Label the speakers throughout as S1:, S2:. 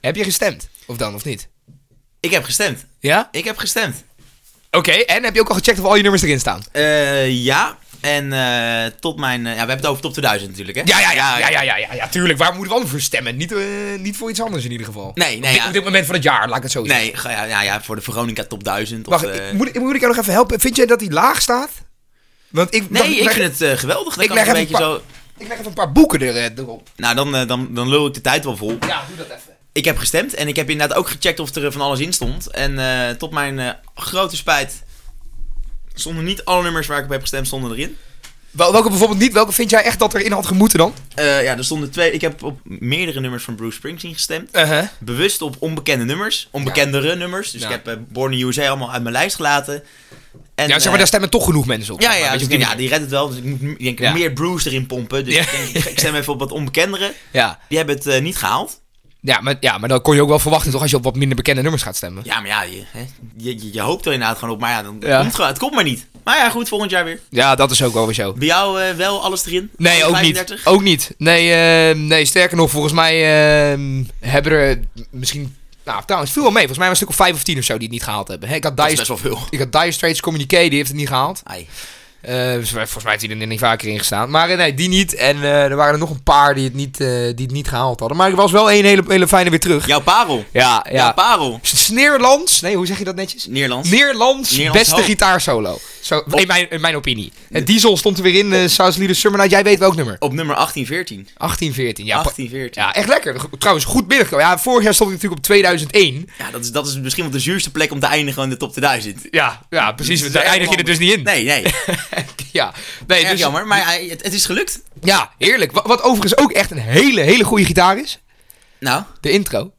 S1: Heb je gestemd? Of dan, of niet?
S2: Ik heb gestemd.
S1: Ja?
S2: Ik heb gestemd.
S1: Oké, en heb je ook al gecheckt of al je nummers erin staan?
S2: Eh, ja. En eh, tot mijn... eh, ja, we hebben het over top 2000 natuurlijk, hè?
S1: Ja, ja, ja, ja, ja, ja, ja, ja, tuurlijk. Waar moeten we anders voor stemmen? Niet, eh, niet voor iets anders in ieder geval.
S2: Nee, nee,
S1: Op, dit-
S2: ja.
S1: op dit moment van het jaar, laat ik het zo zeggen.
S2: Nee, ga- ja, ja, ja, voor de Veronica top 1000.
S1: Wacht,
S2: of, eh,
S1: ik, moet, ik- moet ik jou nog even helpen? Vind jij dat die laag staat? Want ik,
S2: Nee,
S1: dan-
S2: ik vind het eh, geweldig. Dan
S1: Ik
S2: kan
S1: leg
S2: ik een
S1: even
S2: beetje
S1: een
S2: zo...
S1: ik leg even een paar boeken er, eh, erop.
S2: Nou, dan, eh, dan, dan lul ik de tijd wel vol.
S1: Ja, doe dat even.
S2: Ik heb gestemd en ik heb inderdaad ook gecheckt of er eh, van alles in stond. En eh, tot mijn eh, grote spijt stonden niet alle nummers waar ik op heb gestemd stonden erin.
S1: Wel, welke bijvoorbeeld niet? Welke vind jij echt dat erin had gemoeten dan?
S2: Eh, ja, er stonden twee... Ik heb op meerdere nummers van Bruce Springsteen gestemd.
S1: Uh-huh.
S2: bewust op onbekende nummers, onbekendere nummers. Dus
S1: Ja.
S2: ik heb eh, Born in the USA allemaal uit mijn lijst gelaten. En,
S1: ja, zeg
S2: eh,
S1: maar, daar stemmen toch genoeg mensen op.
S2: ja,
S1: zeg maar,
S2: ja,
S1: weet
S2: dus
S1: je,
S2: ik
S1: op
S2: denk,
S1: die
S2: ja,
S1: manier.
S2: die redt het wel. Dus ik moet m- denk, ik
S1: Ja.
S2: meer Bruce erin pompen. Dus
S1: Ja.
S2: ik, denk, ik stem even op wat onbekendere.
S1: ja.
S2: Die hebben het eh, niet gehaald.
S1: Ja, maar, ja, maar dan kon je ook wel verwachten toch als je op wat minder bekende nummers gaat stemmen.
S2: Ja, maar ja, je, hè, je, je, je hoopt er inderdaad gewoon op. Maar ja, dan
S1: Ja.
S2: Komt gewoon, het komt maar niet. Maar ja, goed, volgend jaar weer.
S1: Ja, dat is ook wel weer zo.
S2: Bij jou eh, wel alles erin?
S1: Nee,
S2: Alle
S1: ook niet.
S2: 35?
S1: Ook niet. Nee, eh, nee, sterker nog, volgens mij eh, hebben er misschien... Nou, trouwens, veel wel mee. Volgens mij was het een stuk of vijf of tien of zo die het niet gehaald hebben. Hè, Ik had
S2: Dat is
S1: Dire,
S2: best wel veel.
S1: ik had Dire Straits Communique, die heeft het niet gehaald.
S2: Ai.
S1: Eh, dus wij- volgens mij heeft hij er niet vaker in gestaan. Maar eh, nee, die niet. En eh, er waren er nog een paar die het niet, eh, die het niet gehaald hadden. Maar er was wel één hele, hele fijne weer terug.
S2: Jouw parel.
S1: Ja,
S2: Jouw
S1: ja.
S2: parel.
S1: S- Sneerlands. Nee, hoe zeg je dat netjes?
S2: Nederlands.
S1: Neerlands,
S2: Neerlands
S1: beste
S2: hoog.
S1: gitaarsolo. Zo, in, mijn, in mijn opinie. Het Diesel stond er weer in. eh South Leader Summer Night. Jij weet welk nummer.
S2: op nummer 1814.
S1: 1814. Ja, pa-
S2: 1814.
S1: ja, echt lekker. Go- Trouwens, goed binnengekomen. Ja, vorig jaar stond ik natuurlijk op 2001.
S2: Ja, dat is, dat is misschien wel de zuurste plek om te eindigen in de top 2000.
S1: Ja, ja precies.
S2: Dat is
S1: Daar
S2: echt
S1: eindig je er
S2: jammer.
S1: dus niet in.
S2: Nee, nee.
S1: Ja, nee,
S2: Erg
S1: dus,
S2: jammer, maar hij- het, het is gelukt.
S1: ja, heerlijk. Wat, wat overigens ook echt een hele, hele goede gitaar is.
S2: Nou,
S1: De intro.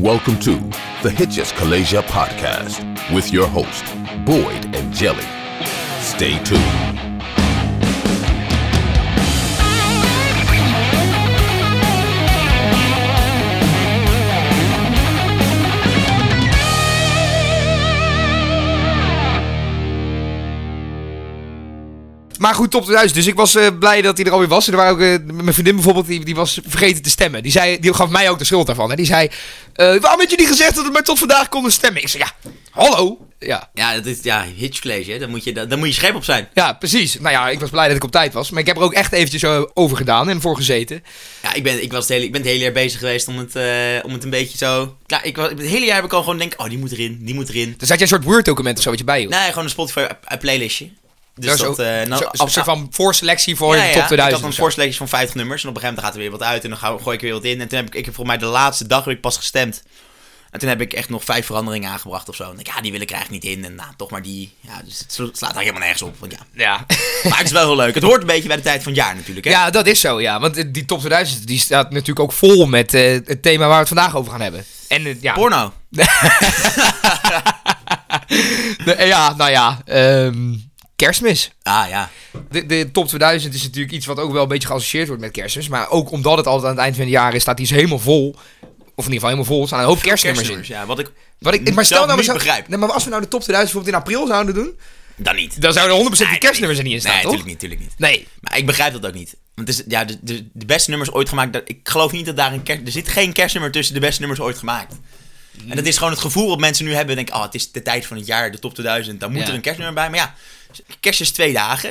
S3: Welcome to the Hitches Kalasia podcast with your host, Boyd and Jelly. Stay tuned.
S1: Maar goed, top 2000. Dus ik was eh, blij dat hij er alweer was. En er waren ook, eh, m- mijn vriendin bijvoorbeeld, die, die was vergeten te stemmen. Die, zei, die gaf mij ook de schuld daarvan. Hè. Die zei, eh, waarom had je niet gezegd dat we maar tot vandaag konden stemmen? Ik zei, ja, hallo. Ja,
S2: ja, dat is, ja Hitchcollege, hè. Daar moet, je, daar, daar moet je scherp op zijn.
S1: ja, precies. Nou ja, ik was blij dat ik op tijd was. Maar ik heb er ook echt eventjes eh, over gedaan en voor gezeten.
S2: Ja, ik ben, ik, was het hele, ik ben het hele jaar bezig geweest om het, eh, om het een beetje zo... Ja, ik was, het hele jaar heb ik al gewoon denk, oh, die moet erin, die moet erin.
S1: Dus had jij een soort Word-document of zo wat je bij je
S2: Nee, gewoon een Spotify-playlistje. Nou, Dus
S1: zo,
S2: dat... eh, nou,
S1: zo-
S2: af-
S1: een soort van voorselectie voor
S2: Ja,
S1: de
S2: ja,
S1: top
S2: Ik
S1: 2000.
S2: had een
S1: of zo.
S2: voorselectie van 50 nummers. En op een gegeven moment gaat er weer wat uit. En dan ga- gooi ik er weer wat in. En toen heb ik, ik heb volgens mij de laatste dag heb ik pas gestemd. En toen heb ik echt nog vijf veranderingen aangebracht of zo. En ik, ja, die wil ik er eigenlijk niet in. En nou, toch maar die. Ja, dus het slaat eigenlijk helemaal nergens op. Want ja.
S1: ja.
S2: Maar het is wel heel leuk. Het hoort een beetje bij de tijd van het jaar natuurlijk. Hè?
S1: ja, dat is zo, ja. Want eh, die top 2000 die staat natuurlijk ook vol met eh, het thema waar we het vandaag over gaan hebben. En eh, ja,
S2: Porno. Ah,
S1: Nee, ja, nou ja, ehm, kerstmis.
S2: Ah ja.
S1: De, de top 2000 is natuurlijk iets wat ook wel een beetje geassocieerd wordt met kerstmis. Maar ook omdat het altijd aan het eind van het jaar is, staat die is helemaal vol. Of in ieder geval helemaal vol. Er staan een hoop kerstnummers in.
S2: Kerstnummers. Ja, wat ik.
S1: Wat ik, maar stel
S2: zelf
S1: nou maar
S2: niet
S1: zo,
S2: begrijp.
S1: Nee, maar als we nou de top 2000 bijvoorbeeld in april zouden doen,
S2: Dan niet.
S1: dan zouden 100% die
S2: Nee,
S1: kerstnummers er niet in staan,
S2: nee,
S1: toch?
S2: natuurlijk niet, natuurlijk
S1: Nee.
S2: niet. Maar ik begrijp dat ook niet. Want het is, ja, de, de, de beste nummers ooit gemaakt. dat- Ik geloof niet dat daar een kerst. Er zit geen kerstnummer tussen de beste nummers ooit gemaakt. En dat is gewoon het gevoel wat mensen nu hebben. Denk, oh, het is de tijd van het jaar, de top 2000. Dan moet
S1: Ja.
S2: er een kerstnummer bij. Maar ja, kerst is twee dagen.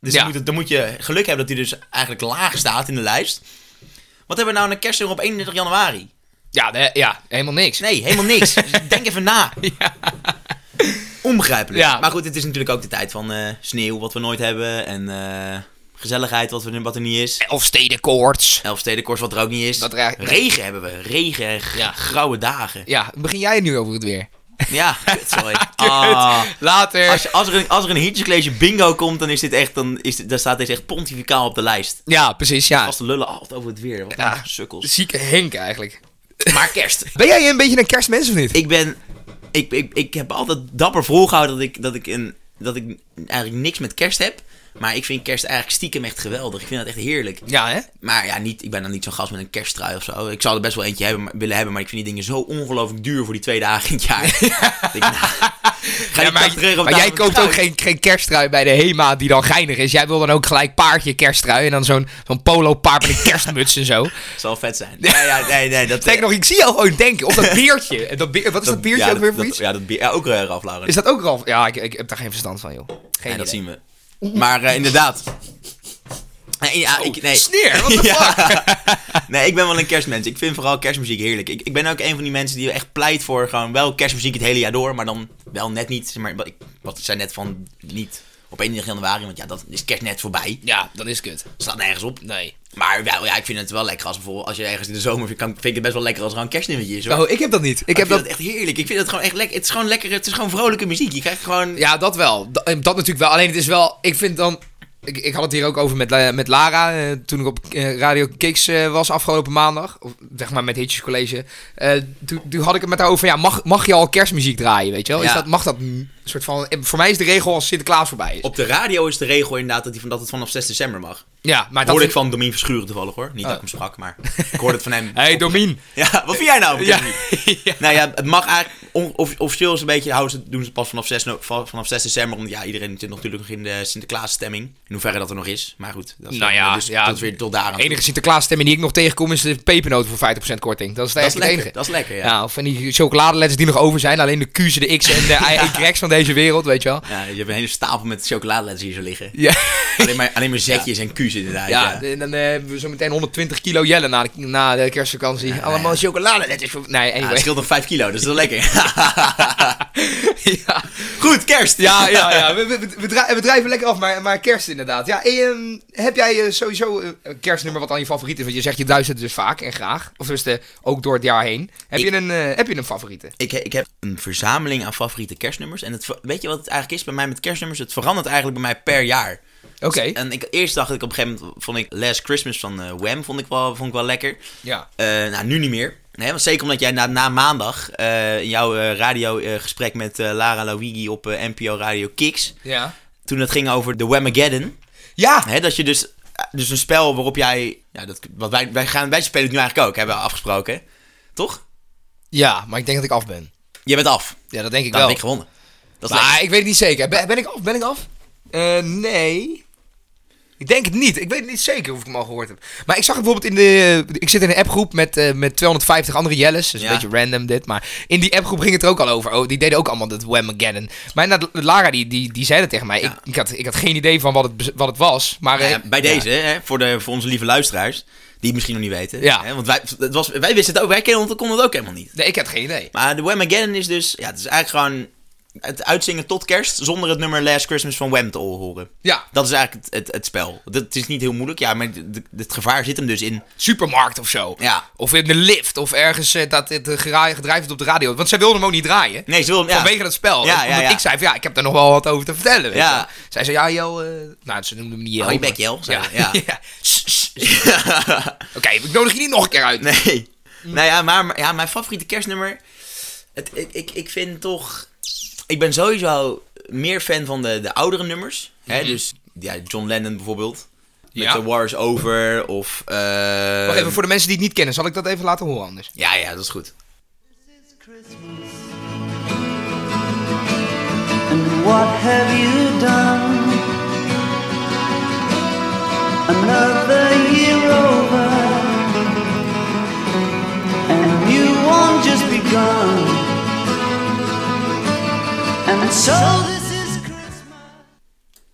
S2: Dus
S1: Ja.
S2: dan, moet het- dan moet je geluk hebben dat die dus eigenlijk laag staat in de lijst. Wat hebben we nou een kerstnummer op 31 januari?
S1: Ja, nee, ja helemaal niks.
S2: Nee, helemaal niks. Dus denk even na. Onbegrijpelijk.
S1: Ja.
S2: Maar goed, het is natuurlijk ook de tijd van eh, sneeuw, wat we nooit hebben. En eh, gezelligheid, wat, we, wat er niet is.
S1: Of stedenkoorts.
S2: Elfstedenkoers, wat er ook niet is.
S1: Dat er eigenlijk-
S2: Regen hebben we. Regen en g-
S1: Ja.
S2: grauwe dagen.
S1: Ja, begin jij nu over het weer?
S2: Ja, kut, sorry. Ah.
S1: Later.
S2: Als, je- als er een, als er een hitjescollege bingo komt, dan, is dit echt, dan, is dit, dan staat deze echt pontificaal op de lijst.
S1: Ja, precies, ja.
S2: Als de lullen altijd over het weer. Wat
S1: Ja.
S2: een sukkels.
S1: Zieke Henk eigenlijk.
S2: Maar kerst.
S1: Ben jij een beetje een kerstmens of niet?
S2: ik ben. Ik, ik, ik heb altijd dapper volgehouden dat ik, dat ik, een, dat ik eigenlijk niks met kerst heb. Maar ik vind kerst eigenlijk stiekem echt geweldig. Ik vind dat echt heerlijk.
S1: Ja, hè?
S2: Maar ja, niet, ik ben dan niet zo'n gast met een kersttrui of zo. Ik zou er best wel eentje hebben, maar- willen hebben, maar ik vind die dingen zo ongelooflijk duur voor die twee dagen in het jaar. Ik denk, nou, ga
S1: Ja,
S2: die
S1: maar
S2: 80 euro
S1: maar jij
S2: betalen voor een
S1: koopt ook
S2: trui.
S1: geen, geen kersttrui bij de HEMA die dan geinig is. Jij wil dan ook gelijk paardje kersttrui en dan zo'n zo'n polo paard met een kerstmuts en zo.
S2: Zal vet zijn. Ja, ja, nee, nee. Dat,
S1: Denk nog, ik zie jou gewoon denken. Of dat biertje. En dat bier- wat is dat, biertje
S2: ja,
S1: ook weer voor
S2: dat,
S1: iets?
S2: Ja, dat bier, ja, ook eh, Ralph Lauren.
S1: Is dat ook al? Ja, ik, ik heb daar geen verstand van, joh. Geen
S2: Nee, dat
S1: idee.
S2: zien we. Maar eh, inderdaad. Nee, ja, ik, nee.
S1: Oh, Sneer, what the
S2: nee, ik ben wel een kerstmens. Ik vind vooral kerstmuziek heerlijk. Ik, ik ben ook een van die mensen die echt pleit voor gewoon wel kerstmuziek het hele jaar door, maar dan wel net niet. zeg Maar, wat ik, wat ik zei net van niet op 31 januari, want ja, dat is kerst net voorbij.
S1: Ja, dat is kut.
S2: Slaat nergens op.
S1: Nee.
S2: Maar wel, ja, ik vind het wel lekker als bijvoorbeeld als je ergens in de zomer vindt, kan, vind ik het best wel lekker als er gewoon een kerstnummertje is. hoor.
S1: Oh, ik heb dat niet. Ik,
S2: ik
S1: heb
S2: vind
S1: dat...
S2: dat echt heerlijk. Ik vind het gewoon echt lekker. Het is gewoon lekker. Het is gewoon vrolijke muziek. Je krijgt gewoon.
S1: Ja, dat wel. Dat, dat natuurlijk wel. Alleen het is wel... Ik vind dan... Ik, ik had het hier ook over met, eh, met Lara. eh, toen ik op eh, Radio Kicks eh, was afgelopen maandag. Of zeg maar met Hitjes College. eh, toen, toen had ik het met haar over... Ja, mag, mag je al kerstmuziek draaien, weet je wel? Is
S2: Ja.
S1: dat, mag dat een soort van... eh, Voor mij is de regel als Sinterklaas voorbij is.
S2: Op de radio is de regel inderdaad dat, die, van- dat het vanaf 6 december mag.
S1: Ja, maar dat...
S2: hoorde ik
S1: vind-
S2: van Domien Verschuren toevallig hoor. Niet dat ik hem sprak, maar ik hoorde het van hem.
S1: hey, Domien.
S2: Ja, wat vind jij nou?
S1: Ja.
S2: Ja. Nou ja, het mag eigenlijk, on- of- officieel is een beetje, houden ze, doen ze het pas vanaf 6, no- va- vanaf 6 december. Omdat ja, iedereen zit natuurlijk nog in de Sinterklaasstemming. In hoeverre dat er nog is. Maar goed, dat is,
S1: Nou ja,
S2: dus,
S1: ja,
S2: dat is weer tot daar aan.
S1: De
S2: toe.
S1: enige Sinterklaas stemming die ik nog tegenkom is de pepernoten voor 50% korting. Dat is,
S2: dat
S1: eigenlijk
S2: is
S1: het
S2: lekker,
S1: enige.
S2: dat is lekker, ja.
S1: Ja. of van die chocoladeletters die nog over zijn. Alleen de Q's, de X's en de Y, Y's van deze wereld, weet je wel.
S2: Ja, je hebt een hele stapel met chocoladeletters hier zo liggen.
S1: Ja,
S2: Alleen maar, alleen maar zetjes en ku's inderdaad.
S1: ja. en dan eh, hebben we zo meteen 120 kilo jellen na de, na de kerstvakantie. Allemaal chocoladeletters voor... Nee,
S2: Ja, het
S1: anyway.
S2: scheelt nog 5 kilo, dus dat is wel lekker.
S1: Ja,
S2: Goed, kerst!
S1: ja, ja. ja. We, we, we, dra- we drijven lekker af, maar, maar kerst inderdaad. Ja, en, heb jij eh, sowieso eh, een kerstnummer wat dan je favoriet is? Want je zegt je duizend dus vaak en graag. Of dus de, ook door het jaar heen. Heb,
S2: Ik-
S1: je, een, eh, heb je een favoriete?
S2: Ik, he- ik heb een verzameling aan favoriete kerstnummers. En het, ver- weet je wat het eigenlijk is bij mij met kerstnummers? Het verandert eigenlijk bij mij per jaar. Dus,
S1: Oké.
S2: En ik, eerst dacht ik op een gegeven moment, vond ik Last Christmas van eh, Wham vond ik wel, vond ik wel lekker.
S1: Ja.
S2: Eh, nou, nu niet meer. Nee, want zeker omdat jij na, na maandag eh, in jouw eh, radiogesprek met eh, Lara Lawigi op eh, NPO Radio Kicks.
S1: Ja.
S2: Toen het ging over de Whamageddon.
S1: Ja.
S2: Hè, dat je dus, dus een spel waarop jij... Ja, dat, wat wij, wij, gaan, wij spelen het nu eigenlijk ook, hebben we afgesproken. hè? Toch?
S1: Ja, maar ik denk dat ik af ben.
S2: Je bent af.
S1: Ja, dat denk Nou, ik
S2: Dan
S1: wel.
S2: heb ik gewonnen. Dat is lekker.
S1: maar ik weet het niet zeker. Ben, ben ik af? Ben ik af? Eh, nee. Ik denk het niet. Ik weet het niet zeker of ik hem al gehoord heb. Maar ik zag het bijvoorbeeld in de... Ik zit in een appgroep met, eh, met 250 andere Jelles. Dus
S2: Ja.
S1: een beetje random dit. Maar in die appgroep ging het er ook al over. Oh, die deden ook allemaal dat Whamageddon. Maar inderdaad, Lara die, die, die zei dat tegen mij.
S2: Ja.
S1: Ik, ik, had, ik had geen idee van wat het, bez- wat het was. Maar eh,
S2: Nou ja, bij
S1: ja.
S2: deze, hè, voor, de, voor onze lieve luisteraars, die het misschien nog niet weten.
S1: Ja.
S2: Hè, want wij, het was, wij wisten het ook, wij kennen het, konden het ook helemaal niet.
S1: Nee, ik had geen idee.
S2: Maar de Whamageddon is dus, ja, het is eigenlijk gewoon het uitzingen tot kerst zonder het nummer Last Christmas van Wham te horen.
S1: Ja.
S2: Dat is eigenlijk het, het, het spel. Dat, het is niet heel moeilijk, ja, maar d- d- het gevaar zit hem dus in.
S1: supermarkt of zo.
S2: Ja.
S1: Of in de lift. Of ergens eh, dat het eh, gedraai- gedreigd wordt op de radio. Want zij wilden hem ook niet draaien.
S2: Nee, ze wil hem, ja.
S1: Vanwege dat spel.
S2: Ja,
S1: Omdat
S2: ja, ja.
S1: Ik zei van ja, ik heb daar nog wel wat over te vertellen. Weet
S2: Ja.
S1: je wel. Zij zei ja, Jel. eh, nou, ze noemde hem niet Jel.
S2: Hou je
S1: maar-
S2: bek, Jel, zei
S1: Ja.
S2: ze, ja.
S1: ja. Sst, sst. Oké, ik nodig je niet nog een keer uit.
S2: Nee.
S1: Mm.
S2: Nou ja, maar maar- ja, mijn favoriete kerstnummer. Het, ik, ik, ik vind toch. Ik ben sowieso meer fan van de, de oudere nummers. Hè? Dus ja, John Lennon bijvoorbeeld. Met
S1: Mhm. Ja.
S2: The War is Over. Of. eh,
S1: Wacht even, voor de mensen die het niet kennen, zal ik dat even laten horen anders.
S2: Ja, ja, dat is goed.
S4: And what have you done? Another year over, and a new one just begun. And so this is Christmas.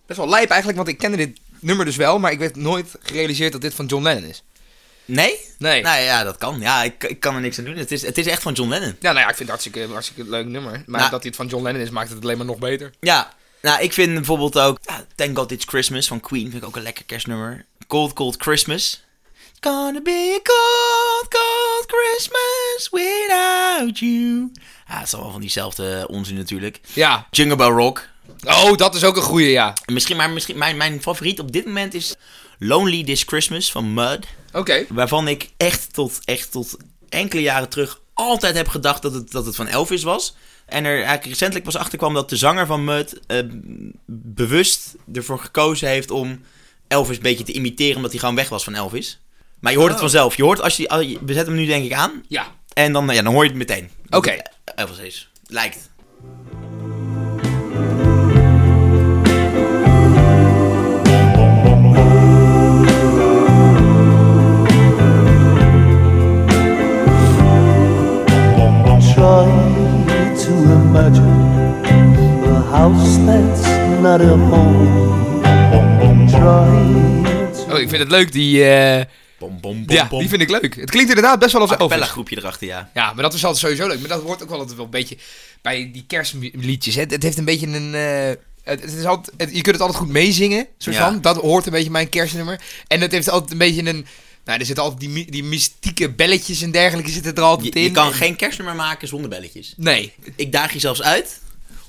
S1: Best wel lijp eigenlijk, want ik kende dit nummer dus wel, maar ik werd nooit gerealiseerd dat dit van John Lennon is.
S2: Nee?
S1: Nee.
S2: Nou ja, dat kan. Ja, ik, ik kan er niks aan doen. Het is, het is echt van John Lennon.
S1: Ja, nou ja, ik vind het hartstikke, hartstikke leuk nummer. Maar
S2: Nou.
S1: dat dit van John Lennon is, maakt het alleen maar nog beter.
S2: Ja. Nou, ik vind bijvoorbeeld ook. ja, Thank God It's Christmas van Queen. Vind ik ook een lekker kerstnummer. Cold, cold Christmas. It's gonna be a cold, cold Christmas without you. Ja, het is allemaal van diezelfde onzin natuurlijk.
S1: Ja.
S2: Jungle Bell Rock.
S1: Oh, dat is ook een goeie, ja.
S2: En Misschien, maar misschien, mijn, mijn favoriet op dit moment is Lonely This Christmas van Mud.
S1: Oké.
S2: Waarvan ik echt tot, echt tot enkele jaren terug altijd heb gedacht dat het, dat het van Elvis was. En er eigenlijk recentelijk pas achter kwam dat de zanger van Mud eh, bewust ervoor gekozen heeft om Elvis een beetje te imiteren, omdat hij gewoon weg was van Elvis. Maar je hoort het vanzelf. Je hoort als je, als je- we zetten hem nu denk ik aan.
S1: Oh. Ja. Oh.
S2: En dan, ja, dan hoor je het meteen.
S1: Oké.
S2: Eh, Elvis is. Lijkt.
S5: Try to imagine a house that's not a home. Try to
S1: Oh, ik vind het leuk, die... eh,
S2: Bom, bom, bom,
S1: ja,
S2: bom.
S1: die vind ik leuk. Het klinkt inderdaad best wel als
S2: Acapella
S1: Elvis.
S2: groepje erachter, ja.
S1: Ja, maar dat is altijd sowieso leuk. Maar dat hoort ook wel altijd wel een beetje bij die kerstliedjes. hè. Het, het heeft een beetje een... eh, het, het is altijd, het- je kunt het altijd goed meezingen, soort
S2: Ja.
S1: van. Dat hoort een beetje bij een kerstnummer. En het heeft altijd een beetje een... Nou, er zitten altijd die, my- die mystieke belletjes en dergelijke zitten er altijd
S2: Je,
S1: in.
S2: je kan
S1: En-
S2: geen kerstnummer maken zonder belletjes.
S1: Nee.
S2: Ik daag je zelfs uit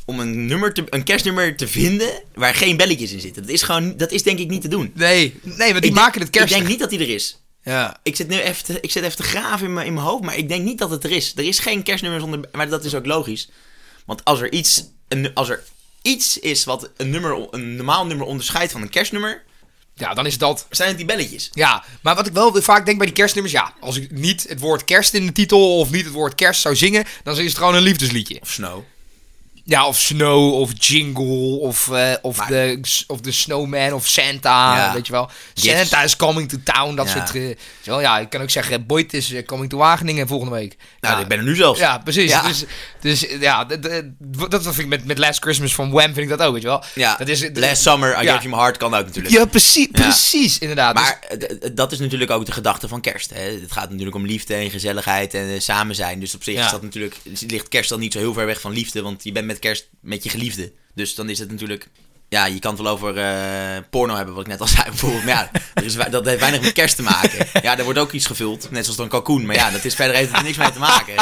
S2: om een, nummer te, een kerstnummer te vinden waar geen belletjes in zitten. Dat is, gewoon, dat is denk ik niet te doen.
S1: Nee. Nee, want die
S2: ik denk-
S1: maken het kerst.
S2: Ik denk niet dat die er is.
S1: Ja.
S2: Ik zit nu even te, ik zit even te graven in mijn, in mijn hoofd, maar ik denk niet dat het er is. Er is geen kerstnummer zonder... Maar dat is ook logisch. Want als er iets, een, nu- als er iets is wat een, nummer, een normaal nummer onderscheidt van een kerstnummer,
S1: ja, dan is dat...
S2: zijn het die belletjes.
S1: Ja, maar wat ik wel vaak denk bij die kerstnummers, ja, als ik niet het woord kerst in de titel of niet het woord kerst zou zingen, dan is het gewoon een liefdesliedje.
S2: Of snow.
S1: Ja, of snow, of jingle, of, eh, of,
S2: Maar-
S1: de, of de snowman, of Santa,
S2: Ja.
S1: weet je wel.
S2: Gifts.
S1: Santa is coming to town, dat
S2: Ja.
S1: soort... eh, weet je wel, ja, ik kan ook zeggen, Boyd is eh, coming to Wageningen volgende week.
S2: Nou,
S1: ja.
S2: ik ben er nu zelfs.
S1: Ja, precies.
S2: Ja.
S1: Dus, dus eh, ja, d- d- d- dat vind ik met, met Last Christmas van Wham, vind ik dat ook, weet je wel.
S2: Ja,
S1: dat is,
S2: Last Summer, I
S1: ja.
S2: Gave You My Heart kan ook natuurlijk.
S1: Ja, precies, precies, inderdaad. Dus-
S2: Maar eh, d- d- dat is natuurlijk ook de gedachte van kerst. Hè? Het gaat natuurlijk om liefde en gezelligheid en eh, samen zijn. Dus op zich
S1: Ja.
S2: is dat natuurlijk, ligt kerst dan niet zo heel ver weg van liefde. Want je bent met kerst met je geliefde. Dus dan is het natuurlijk... Ja, je kan het wel over eh, porno hebben, wat ik net al zei. Bijvoorbeeld. Maar ja, er is, wei- dat heeft weinig met kerst te maken. Ja, er wordt ook iets gevuld. Net zoals dan kalkoen. Maar ja, dat is, verder heeft het er niks mee te maken.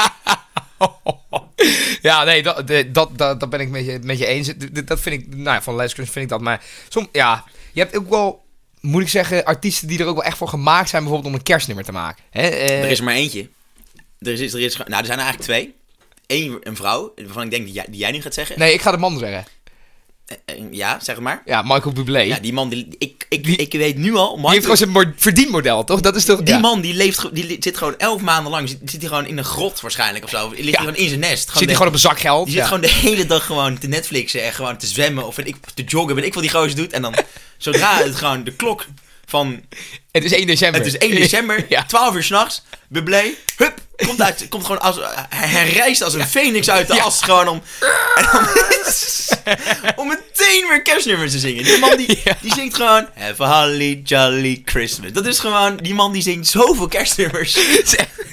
S1: ja, nee, dat, de- dat, dat, dat ben ik met je, met je eens. D- d- Dat vind ik, nou ja, van Les Cruz vind ik dat. Maar som, ja, je hebt ook wel, moet ik zeggen, artiesten die er ook wel echt voor gemaakt zijn, bijvoorbeeld om een kerstnummer te maken. Hè? eh,
S2: Er is er maar eentje. Er is, er is, nou, er zijn er eigenlijk twee. Eén, een vrouw, waarvan ik denk die jij, die jij nu gaat zeggen.
S1: Nee, ik ga de man zeggen.
S2: Eh, eh, Ja, zeg het maar.
S1: Ja, Michael Bublé.
S2: Ja,
S1: die,
S2: die man, die, ik, ik, ik weet nu al, Michael-
S1: heeft gewoon zijn mo- verdienmodel, toch? Dat is toch...
S2: die
S1: ja.
S2: man die, leeft, ge- die li- zit gewoon elf maanden lang, zit, zit hij gewoon in een grot waarschijnlijk of zo. Of Ligt hij gewoon in zijn nest.
S1: Zit
S2: de-
S1: hij gewoon op een zak geld?
S2: die zit
S1: ja.
S2: gewoon de hele dag gewoon te Netflixen en gewoon te zwemmen of weet ik, te joggen, weet ik wat die gozer doet. En dan, zodra het gewoon de klok van,
S1: Het is 1 december.
S2: het is 1 december,
S1: ja.
S2: 12 uur s'nachts, Bublé, hup, komt, uit, komt gewoon als, hij hij rijst als een phoenix uit de as gewoon om, en om, om meteen weer kerstnummers te zingen. Die man die,
S1: Ja.
S2: die zingt gewoon Have a holly jolly Christmas. Dat is gewoon, die man die zingt zoveel kerstnummers.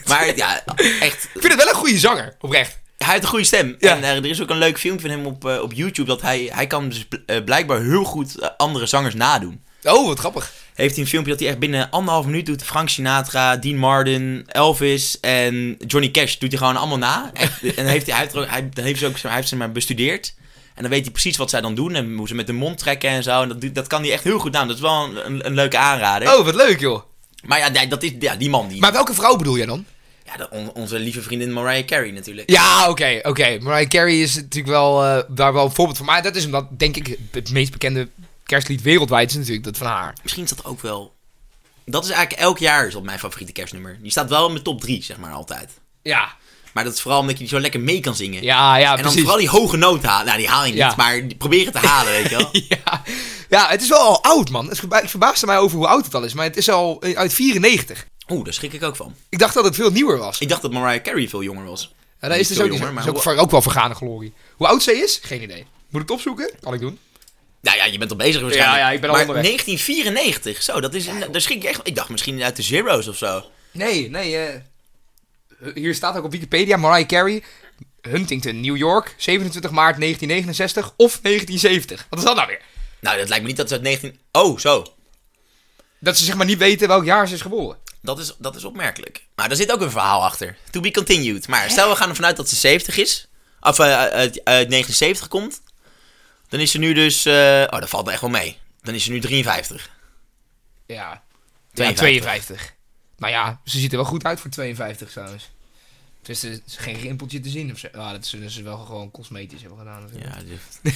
S2: Maar ja, echt,
S1: Ik vind het wel een goede zanger, oprecht.
S2: hij heeft een goede stem.
S1: Ja.
S2: En eh, er is ook een leuk filmpje van hem op, eh, op YouTube dat hij, hij kan dus bl- eh, blijkbaar heel goed eh, andere zangers nadoen
S1: Oh, wat grappig.
S2: heeft hij een filmpje dat hij echt binnen anderhalf minuut doet. Frank Sinatra, Dean Martin, Elvis en Johnny Cash doet hij gewoon allemaal na. Echt, en heeft hij, hij, heeft er ook, hij, dan heeft ze ook, hij heeft ze maar bestudeerd. En dan weet hij precies wat zij dan doen en hoe ze met de mond trekken en zo. En dat, doet- dat kan hij echt heel goed aan. Dat is wel een, een, een leuke aanrader.
S1: Oh, wat leuk, joh.
S2: Maar ja, die- dat is, ja, die man die...
S1: Maar welke vrouw bedoel jij dan?
S2: ja, de- on- onze lieve vriendin Mariah Carey natuurlijk.
S1: Ja, oké, oké. Mariah Carey is natuurlijk wel eh, daar wel een voorbeeld van. Maar dat is omdat, denk ik, het meest bekende kerstlied wereldwijd is natuurlijk dat van haar.
S2: Misschien is dat ook wel... Dat is eigenlijk elk jaar is dat mijn favoriete kerstnummer. Die staat wel in mijn top 3, zeg maar, altijd.
S1: Ja,
S2: Maar dat is vooral omdat je die zo lekker mee kan zingen.
S1: ja, ja,
S2: en dan
S1: precies.
S2: vooral die hoge noot halen. Nou, die haal je niet,
S1: Ja.
S2: maar die- probeer het te halen, weet je wel.
S1: ja. ja, het is wel al oud, man. Het verba- ik verbaasde mij over hoe oud het al is, maar het is al eh, uit 94.
S2: Oeh, daar schrik ik ook van.
S1: Ik dacht dat het veel nieuwer was.
S2: Ik dacht dat Mariah Carey veel jonger was.
S1: Ja, dat is dus
S2: veel
S1: ook, niet zo.
S2: jonger, maar
S1: is ook,
S2: hoe-
S1: ver- ook wel vergane glorie. Hoe oud zij is? Geen idee. Moet ik het opzoeken? Kan ik doen.
S2: Nou ja, je bent al bezig waarschijnlijk.
S1: ja, ik ben al
S2: maar
S1: onderweg.
S2: 1994, zo, dat is, daar schrik ik echt van. Ik dacht misschien uit de zeros of zo.
S1: Nee, nee. eh, hier staat ook op Wikipedia Mariah Carey, Huntington, New York, 27 maart 1969 of 1970. Wat is dat nou weer?
S2: Nou, dat lijkt me niet dat ze uit 19... Oh, zo.
S1: Dat ze zeg maar niet weten welk jaar ze is geboren.
S2: Dat is, dat is opmerkelijk. Maar daar zit ook een verhaal achter. To be continued. Maar stel, we gaan ervan uit dat ze 70 is. Of eh, uit, uit 79 komt. Dan is ze nu dus... eh, oh, dat valt me echt wel mee. Dan is ze nu 53.
S1: Ja.
S2: 52.
S1: 52. Nou ja, ze ziet er wel goed uit voor 52 trouwens. Het is, er is geen rimpeltje te zien of zo. Ah, dat zullen ze wel gewoon cosmetisch hebben gedaan natuurlijk.
S2: Ja, die-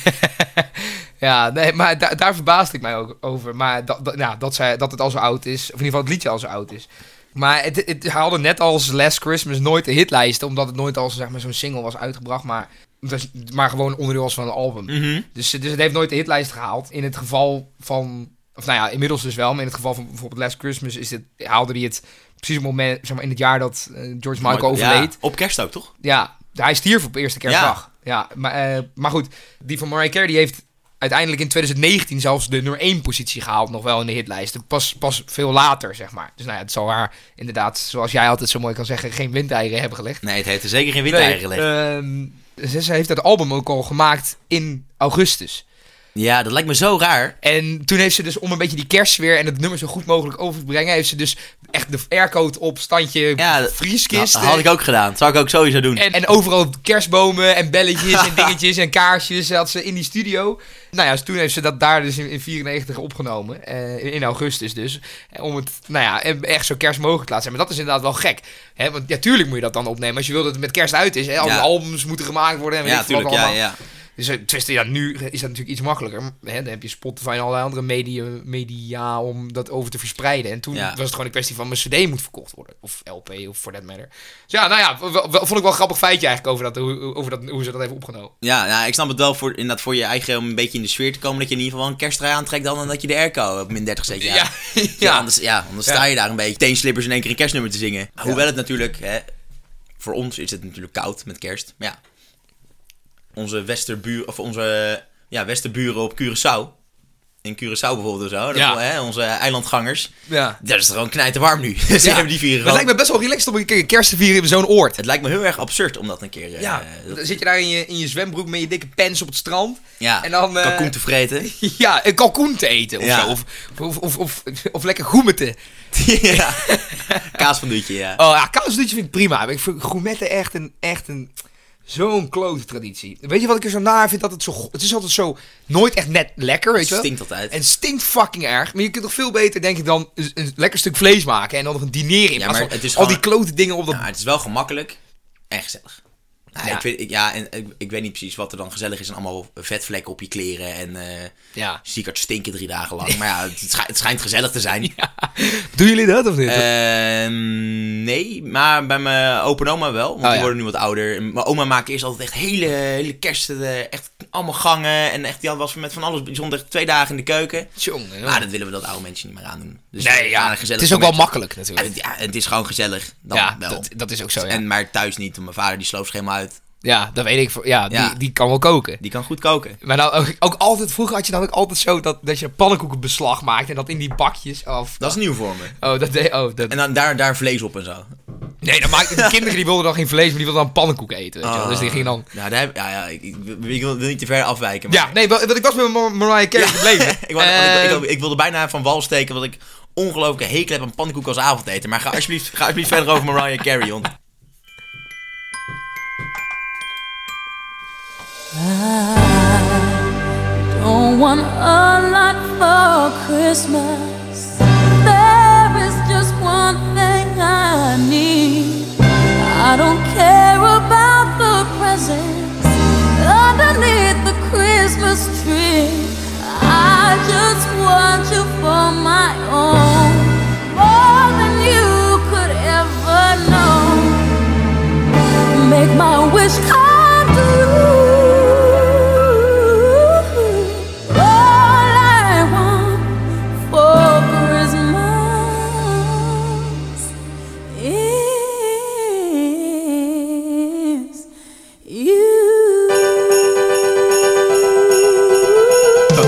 S1: Ja, nee, maar da- daar verbaasde ik mij ook over. Maar da- da- ja, dat, zij, dat het al zo oud is, of in ieder geval het liedje al zo oud is. Maar het, het haalde net als Last Christmas nooit de hitlijsten, omdat het nooit als zeg maar, zo'n single was uitgebracht, maar, het was- maar gewoon onderdeel was van een album.
S2: Mhm.
S1: Dus, dus het heeft nooit de hitlijst gehaald. In het geval van, of nou ja, inmiddels dus wel, maar in het geval van bijvoorbeeld Last Christmas is het, haalde hij het precies op het moment, zeg maar, in het jaar dat eh, George Michael overleed.
S2: Ja, op kerst ook, toch?
S1: Ja, hij stierf op eerste kerstdag. Ja, maar, eh, maar goed, die van Mariah Carey die heeft uiteindelijk in 2019 zelfs de nummer 1 positie gehaald, nog wel in de hitlijsten. Pas, pas veel later, zeg maar. Dus nou ja, het zal haar inderdaad, zoals jij altijd zo mooi kan zeggen, geen windeieren hebben gelegd.
S2: Nee, het heeft er zeker geen wind eigen
S1: eh,
S2: gelegd.
S1: ehm, ze, ze heeft dat album ook al gemaakt in augustus.
S2: Ja, dat lijkt me zo raar.
S1: En toen heeft ze dus om een beetje die kerstsfeer en het nummer zo goed mogelijk over te brengen, heeft ze dus echt de aircoat op, standje,
S2: Ja, dat-
S1: vrieskist.
S2: dat had ik ook gedaan. Dat zou ik ook sowieso doen.
S1: En, en overal kerstbomen en belletjes en dingetjes en kaarsjes had ze in die studio. Nou ja, dus toen heeft ze dat daar dus in, in 94 opgenomen. eh, in- in augustus dus. Eh, Om het, nou ja, em- echt zo kerst mogelijk te laten zijn. Maar dat is inderdaad wel gek. Hè? Want natuurlijk moet je dat dan opnemen. Als je wil dat het met kerst uit is. Hè? Al die
S2: Ja.
S1: albums moeten gemaakt worden en weet
S2: ja,
S1: ik veel wat
S2: tuurlijk. Ja,
S1: allemaal.
S2: ja.
S1: Dus eh, tenminste, ja, nu is dat natuurlijk iets makkelijker. Hè? Dan heb je Spotify en allerlei andere media, media om dat over te verspreiden. En toen
S2: Ja.
S1: was het gewoon een kwestie van mijn cd moet verkocht worden. Of LP, of for that matter. Dus ja, nou ja, wel- wel- vond ik wel een grappig feitje eigenlijk over, dat, hoe, over dat, hoe ze dat hebben opgenomen.
S2: Ja, nou, ik snap het wel voor, inderdaad voor je eigen om een beetje in de sfeer te komen. Dat je in ieder geval wel een kerstdraai aantrekt dan, dan dat je de airco op min 30 zet. Ja,
S1: Ja.
S2: ja.
S1: Ja.
S2: anders, ja, anders sta je daar een beetje teenslippers in één keer een kerstnummer te zingen. Hoewel het natuurlijk, hè, voor ons is het natuurlijk koud met kerst. Maar ja, onze westerbuur, of onze ja, westerburen op Curaçao. In Curaçao bijvoorbeeld of zo. dat
S1: Ja.
S2: wel, hè, onze eilandgangers.
S1: Ja.
S2: Dat is het gewoon knijterwarm nu. Ze hebben die
S1: Maar
S2: vieren
S1: het
S2: gewoon.
S1: lijkt me best wel relaxed om een keer kerst te vieren in zo'n oord.
S2: Het lijkt me heel erg absurd om dat een keer... eh,
S1: Ja,
S2: dat-
S1: dan zit je daar in je, in je zwembroek met je dikke pens op het strand.
S2: ja,
S1: en dan, eh,
S2: kalkoen te vreten.
S1: Ja, een kalkoen te eten of
S2: Ja.
S1: zo. Of, of, of, of, of lekker gourmetten.
S2: ja. Kaas van Dutje, ja.
S1: Oh ja, kaasdutje vind ik prima. Maar ik vind gourmetten echt een, echt een, zo'n klote traditie. Weet je wat ik er zo naar vind? Dat het zo, go- het is altijd zo, nooit echt net lekker, weet je wel?
S2: Stinkt altijd.
S1: En stinkt fucking erg. Maar je kunt toch veel beter, denk ik, dan een, een lekker stuk vlees maken en dan nog een diner in.
S2: Ja,
S1: plaats
S2: maar
S1: van
S2: het is
S1: al die
S2: gewoon-
S1: klote dingen op dat...
S2: Nou, het is wel gemakkelijk en gezellig. Nou,
S1: Ja.
S2: Ik vind, ik- ja, en ik, ik weet niet precies wat er dan gezellig is. En allemaal vetvlekken op je kleren en eh
S1: Ja.
S2: ziekert stinken drie dagen lang. Maar ja, het, schij- het schijnt gezellig te zijn.
S1: Doen jullie dat of niet?
S2: Eh, Ehm, nee, maar bij mijn opa en oma wel. Want
S1: Oh,
S2: die
S1: ja.
S2: worden nu wat ouder. En Mijn oma maakte eerst altijd echt hele, hele kersten. eh, Echt allemaal gangen. En echt, die had- was met van alles. Die stond echt twee dagen in de keuken.
S1: Tjonge,
S2: Maar nou, dat willen we dat oude mensen niet meer aandoen. Dus we
S1: nee,
S2: gaan
S1: ja,
S2: een gezellig
S1: het is ook wel
S2: momentje-
S1: makkelijk
S2: Ja,
S1: natuurlijk.
S2: het, ja, het is gewoon gezellig. Dan
S1: Ja,
S2: wel.
S1: dat, dat is ook zo, ja.
S2: En maar thuis niet, want mijn vader die sloof schema uit.
S1: ja, dat weet ik. voor- Ja,
S2: Ja.
S1: Die, die kan wel koken.
S2: Die kan goed koken.
S1: Maar nou, ook, ook altijd, vroeger had je dan ook altijd zo dat, dat je pannenkoekenbeslag maakt en dat in die bakjes. Of,
S2: Dat is nieuw voor me.
S1: oh, dat, deed- oh, dat,
S2: En dan daar, daar vlees op en zo.
S1: Nee, dan maakten de kinderen die wilden dan geen vlees, maar die wilden dan pannenkoeken eten. Weet je wel. Dus
S2: Ah.
S1: die gingen dan.
S2: Ja, daar heb, ja, ja ik, ik wil, ik wil niet te ver afwijken. Maar
S1: Ja, nee, wel- want ik was met Mar- Mariah Carey gebleven.
S2: ik, wou- want ik,
S1: Eh,
S2: ik, ik wilde bijna van wal steken, want ik ongelooflijke hekel heb aan pannenkoek als avondeten. Maar ga alsjeblieft, ga alsjeblieft verder over Mariah Carey, want...
S6: Don't want a lot for Christmas. There is just one thing I need. I don't care about the presents underneath the Christmas tree. I just want you for my own, more than you could ever know make my wish come true. All I want for Christmas is you. Yeah.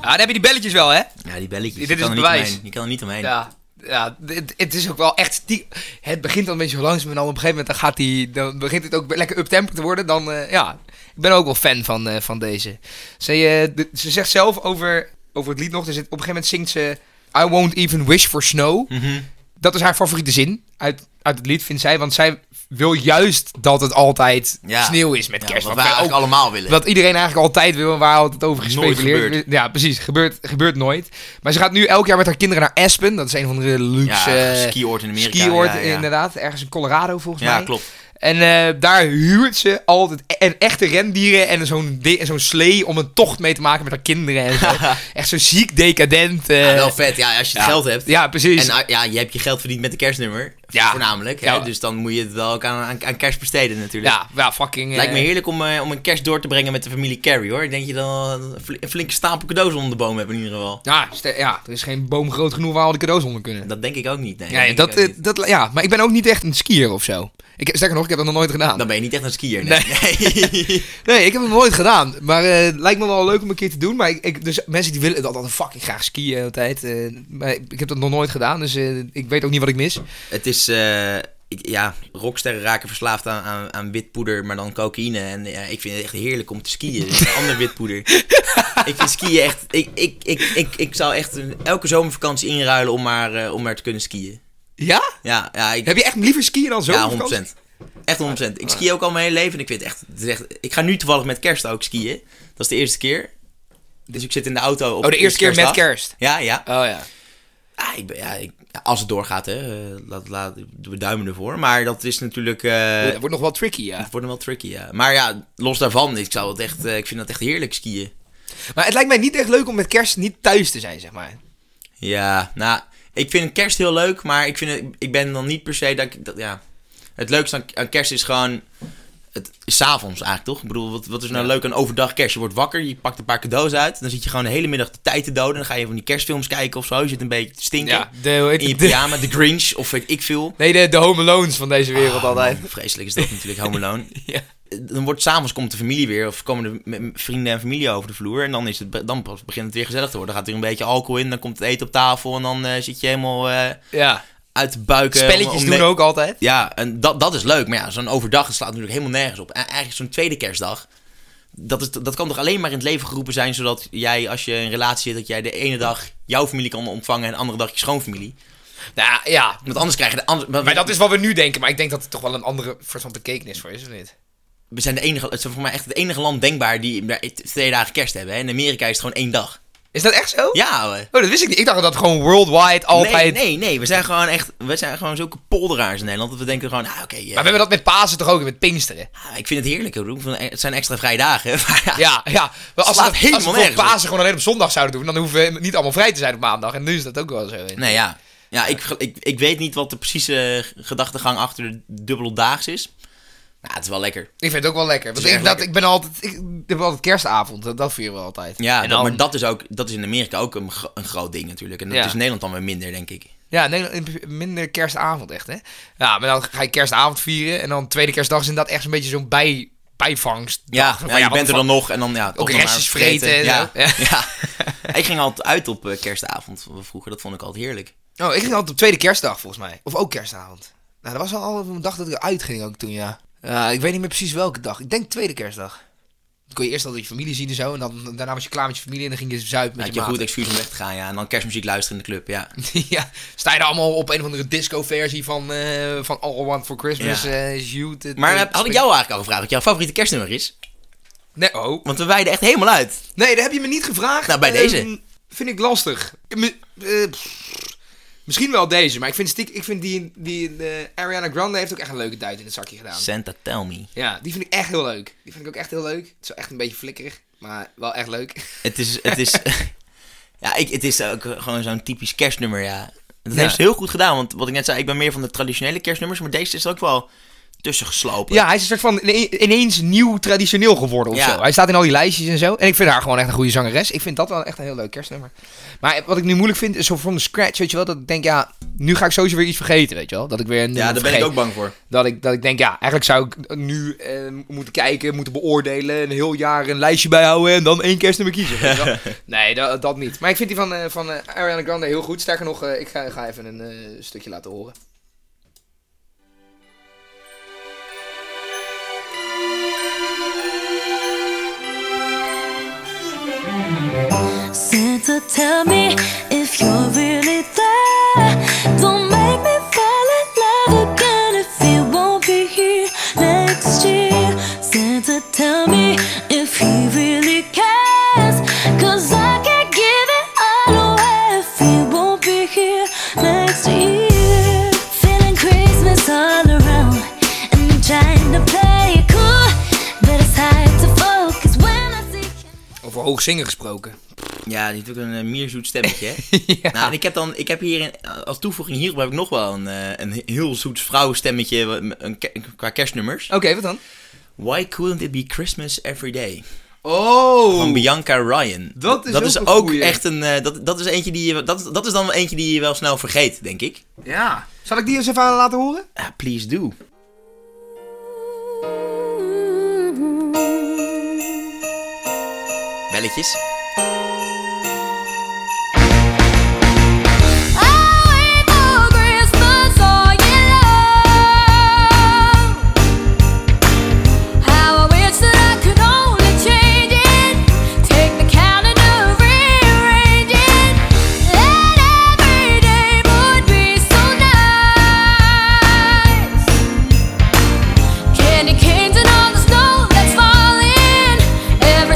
S1: ah, dan heb je die belletjes wel, hè?
S2: Ja, die belletjes.
S1: Dit
S2: je
S1: is
S2: kan er niet
S1: bewijs.
S2: omheen. Je kan er niet omheen.
S1: Ja. Ja, het, het is ook wel echt. Die, het begint al een beetje zo langzaam en dan op een gegeven moment dan gaat die, dan begint het ook lekker uptempo te worden. Dan, eh, ja, ik ben ook wel fan van, eh, van deze. Ze, eh, de- ze zegt zelf over, over het lied nog, er zit, op een gegeven moment zingt ze I won't even wish for snow.
S2: Mhm.
S1: Dat is haar favoriete zin uit, uit het lied, vindt zij. Want zij wil juist dat het altijd
S2: Ja.
S1: sneeuw is met
S2: Ja,
S1: kerst.
S2: Wat
S1: Wat,
S2: wij
S1: wij ook-
S2: eigenlijk allemaal willen.
S1: wat iedereen eigenlijk altijd wil en waar altijd over gespeculeerd
S2: gebeurt.
S1: Ja, precies. Gebeurt, gebeurt nooit. Maar ze gaat nu elk jaar met haar kinderen naar Aspen. Dat is een van de luxe
S2: ja,
S1: eh,
S2: skioord in Amerika.
S1: skioord,
S2: ja, ja.
S1: inderdaad. Ergens in Colorado volgens
S2: Ja,
S1: mij.
S2: klopt.
S1: En eh, daar huurt ze altijd e- en echte rendieren en zo'n di- en zo'n slee om een tocht mee te maken met haar kinderen. En zo. Echt zo ziek decadent. eh,
S2: Ja, wel vet, ja, als je het geld hebt.
S1: ja, precies.
S2: En ah, ja, je hebt je geld verdiend met een kerstnummer.
S1: Ja.
S2: Voornamelijk.
S1: Ja.
S2: Hè? Dus dan moet je het wel ook aan, aan, aan kerst besteden natuurlijk.
S1: ja, ja, fucking... eh,
S2: Lijkt me heerlijk om, eh, om een kerst door te brengen met de familie Carrie hoor. Ik denk je dan een fli- een flinke stapel cadeaus onder de boom hebt in ieder geval.
S1: Ja, ste- ja, er is geen boom groot genoeg waar al de cadeaus onder kunnen.
S2: Dat denk ik ook niet. Nee,
S1: Ja,
S2: denk
S1: dat,
S2: ik ook
S1: eh,
S2: niet.
S1: dat, ja, maar ik ben ook niet echt een skier of zo. Ik, sterker nog, ik heb dat nog nooit gedaan.
S2: Dan ben je niet echt een skier. Nee. Nee.
S1: Nee, ik heb het nog nooit gedaan. Maar eh, het lijkt me wel leuk om een keer te doen. Maar ik, ik- dus mensen die willen dat altijd fucking graag skiën altijd. eh, maar ik, ik heb dat nog nooit gedaan, dus eh, ik weet ook niet wat ik mis.
S2: Het is, eh, ik- ja, rocksterren raken verslaafd aan, aan, aan wit poeder, maar dan cocaïne. En ja, ik vind het echt heerlijk om te skiën. Dus een ander wit poeder. ik vind skiën echt, ik, ik, ik, ik, ik zou echt een- elke zomervakantie inruilen om maar, eh, om maar te kunnen skiën.
S1: Ja?
S2: Ja, ja, ik,
S1: Heb je echt liever skiën dan zo?
S2: ja 100%. Echt 100%. Ik ski ook al mijn hele leven en ik vind het echt, het is echt- ik ga nu toevallig met kerst ook skiën. Dat is de eerste keer. Dus ik zit in de auto op
S1: Oh, de eerste keer met
S2: kerstdag.
S1: kerst.
S2: Ja, ja.
S1: Oh ja.
S2: Ah, ik ben- ja, ik, ja, als het doorgaat, hè. eh, laat, laat, we duimen ervoor. Maar dat is natuurlijk... eh
S1: dat wordt nog wel tricky, ja.
S2: het wordt wel tricky, ja. Maar ja, los daarvan, ik, zou het echt, eh, ik vind dat echt heerlijk skiën.
S1: Maar het lijkt mij niet echt leuk om met kerst niet thuis te zijn, zeg maar.
S2: Ja, nou, ik vind kerst heel leuk, maar ik, vind het, ik ben dan niet per se dat ik... Dat, ja. Het leukste aan, aan kerst is gewoon... Het is 's avonds eigenlijk, toch? Ik bedoel, wat, wat is nou leuk aan overdag kerst? Je wordt wakker, je pakt een paar cadeaus uit. Dan zit je gewoon de hele middag de tijd te doden. Dan ga je van die kerstfilms kijken of zo. Je zit een beetje te stinken.
S1: Ja, de- hoe heet
S2: in je
S1: het? De-
S2: pyjama, de Grinch of weet ik veel.
S1: Nee, de, de home alones van deze wereld
S2: Ah,
S1: altijd.
S2: man, vreselijk is dat natuurlijk, Home Alone.
S1: Ja.
S2: Dan wordt s'avonds komt de familie weer, of komen de m- m- vrienden en familie over de vloer. En dan, is het, be- dan pas begint het weer gezellig te worden. Dan gaat er een beetje alcohol in, dan komt het eten op tafel. En dan eh, zit je helemaal eh,
S1: Ja.
S2: uit de buiken.
S1: Spelletjes
S2: eh, om- om
S1: doen
S2: ne-
S1: ook altijd.
S2: Ja, en dat, dat is leuk. Maar ja, zo'n overdag het slaat natuurlijk helemaal nergens op. En eigenlijk zo'n tweede kerstdag. Dat, is, dat kan toch alleen maar in het leven geroepen zijn, zodat jij, als je in een relatie zit, dat jij de ene dag jouw familie kan ontvangen en de andere dag je schoonfamilie.
S1: Nou ja.
S2: Want anders krijg je de andere.
S1: Maar dat is wat we nu denken. Maar ik denk dat het toch wel een andere soort van bekekenis voor is, of niet?
S2: We zijn de enige, het is voor mij echt het enige land denkbaar die daar twee dagen kerst hebben. Hè? In Amerika is het gewoon één dag.
S1: Is dat echt zo?
S2: Ja, ouwe.
S1: Oh, dat wist ik niet. Ik dacht dat het gewoon worldwide
S2: Nee,
S1: altijd...
S2: nee, nee. We zijn gewoon echt, we zijn gewoon zulke polderaars in Nederland. Dat we denken gewoon, ah, oké. eh,
S1: Maar we hebben dat met Pasen toch ook en met Pinksteren?
S2: ah, ik vind het heerlijk. hoor. Ik bedoel, Het zijn extra vrije dagen. Maar ja,
S1: Ja, ja. Maar als
S2: Slaat
S1: we,
S2: helemaal
S1: als we voor
S2: nergens op.
S1: Pasen gewoon alleen op zondag zouden doen, dan hoeven we niet allemaal vrij te zijn op maandag. En nu is dat ook wel zo.
S2: Nee, ja. Ja, ik, ik, ik weet niet wat de precieze gedachtegang achter de dubbeldaags is. Nou, het is wel lekker.
S1: Ik vind het ook wel lekker. Want
S2: is
S1: ik,
S2: echt
S1: dat,
S2: lekker.
S1: ik ben altijd... Ik, ik heb altijd kerstavond. Dat, dat vieren we altijd.
S2: Ja,
S1: en
S2: dat-
S1: dan,
S2: maar dat is, ook, dat is in Amerika ook een, gro- een groot ding natuurlijk. En dat
S1: Ja.
S2: is in Nederland dan weer minder, denk ik.
S1: Ja, nee, in- minder kerstavond echt, hè? Ja, maar dan ga je kerstavond vieren en dan tweede kerstdag is inderdaad echt zo'n beetje zo'n bij, bijvangst.
S2: Ja, ja, je bent er dan nog en dan ja, toch
S1: Ook
S2: nog maar
S1: restjes vreten en
S2: Ja.
S1: zo. Ja.
S2: Ja. Ik ging altijd uit op eh, kerstavond vroeger. Dat vond ik altijd heerlijk.
S1: Oh, ik ging altijd op tweede kerstdag volgens mij. Of ook kerstavond. Nou, dat was al een dag dat ik eruit ging ook toen, ja. Ja, ik weet niet meer precies welke dag. Ik denk tweede kerstdag. Dan kon je eerst altijd je familie zien en zo. En dan, daarna was je klaar met je familie en dan ging je zuipen met
S2: Had
S1: je
S2: je een goed
S1: maten.
S2: excuus om weg te gaan, ja. En dan kerstmuziek luisteren in de club, ja.
S1: ja, sta je daar allemaal op een of andere disco-versie van, eh, van All I Want For Christmas
S2: Ja.
S1: eh, is You. te-
S2: Maar
S1: te-
S2: heb- had ik jou eigenlijk al gevraagd wat jouw favoriete kerstnummer is?
S1: Nee, oh.
S2: Want we wijden echt helemaal uit.
S1: Nee, dat heb je me niet gevraagd.
S2: Nou, bij
S1: Eh,
S2: deze.
S1: vind ik lastig. Me- eh, pff, misschien wel deze, maar ik vind, stiek, ik vind die, die eh, Ariana Grande heeft ook echt een leuke duit in het zakje gedaan.
S2: Santa Tell Me.
S1: Ja, die vind ik echt heel leuk. Die vind ik ook echt heel leuk. Het is wel echt een beetje flikkerig, maar wel echt leuk.
S2: Het is... Het is ja, ik, het is ook gewoon zo'n typisch kerstnummer, ja. Dat
S1: Ja.
S2: heeft ze heel goed gedaan. Want wat ik net zei, ik ben meer van de traditionele kerstnummers. Maar deze is er ook wel tussen geslopen.
S1: hij is een soort van ine- ineens nieuw traditioneel geworden of
S2: Ja.
S1: zo. Hij staat in al die lijstjes en zo. En ik vind haar gewoon echt een goede zangeres. Ik vind dat wel echt een heel leuk kerstnummer. Maar wat ik nu moeilijk vind, is zo van de scratch, weet je wel. Dat ik denk, ja, nu ga ik sowieso weer iets vergeten, weet je wel. Dat ik weer een
S2: ja
S1: nummer
S2: daar ben ik
S1: vergeet.
S2: ook bang voor.
S1: Dat ik, dat ik denk, ja, eigenlijk zou ik nu eh, moeten kijken, moeten beoordelen, een heel jaar een lijstje bijhouden en dan één kerstnummer kiezen. weet je wel. nee, dat, dat niet. Maar ik vind die van, eh, van eh, Ariana Grande heel goed. Sterker nog, eh, ik ga, ga even een eh, stukje laten horen.
S6: Santa, tell me if you're really there. Don't make me fall in love again if it won't be here.
S1: hoog zingen gesproken.
S2: Ja, die heeft ook een eh, mierzoet stemmetje. hè?
S1: Ja.
S2: Nou, en ik heb dan, ik heb hier in- als toevoeging hierop heb ik nog wel een, eh, een heel zoet vrouwenstemmetje wa- een, ke- qua kerstnummers.
S1: Oké, wat dan?
S2: Why couldn't it be Christmas every day? Van
S1: Oh!
S2: Bianca Ryan.
S1: Dat is ook een
S2: ook
S1: goeie.
S2: echt een, eh, dat, dat is eentje die je, dat, dat is dan wel eentje die je wel snel vergeet, denk ik.
S1: Ja. Zal ik die eens even aan laten horen?
S2: Ah, please do.
S6: Mm-hmm.
S2: Belletjes.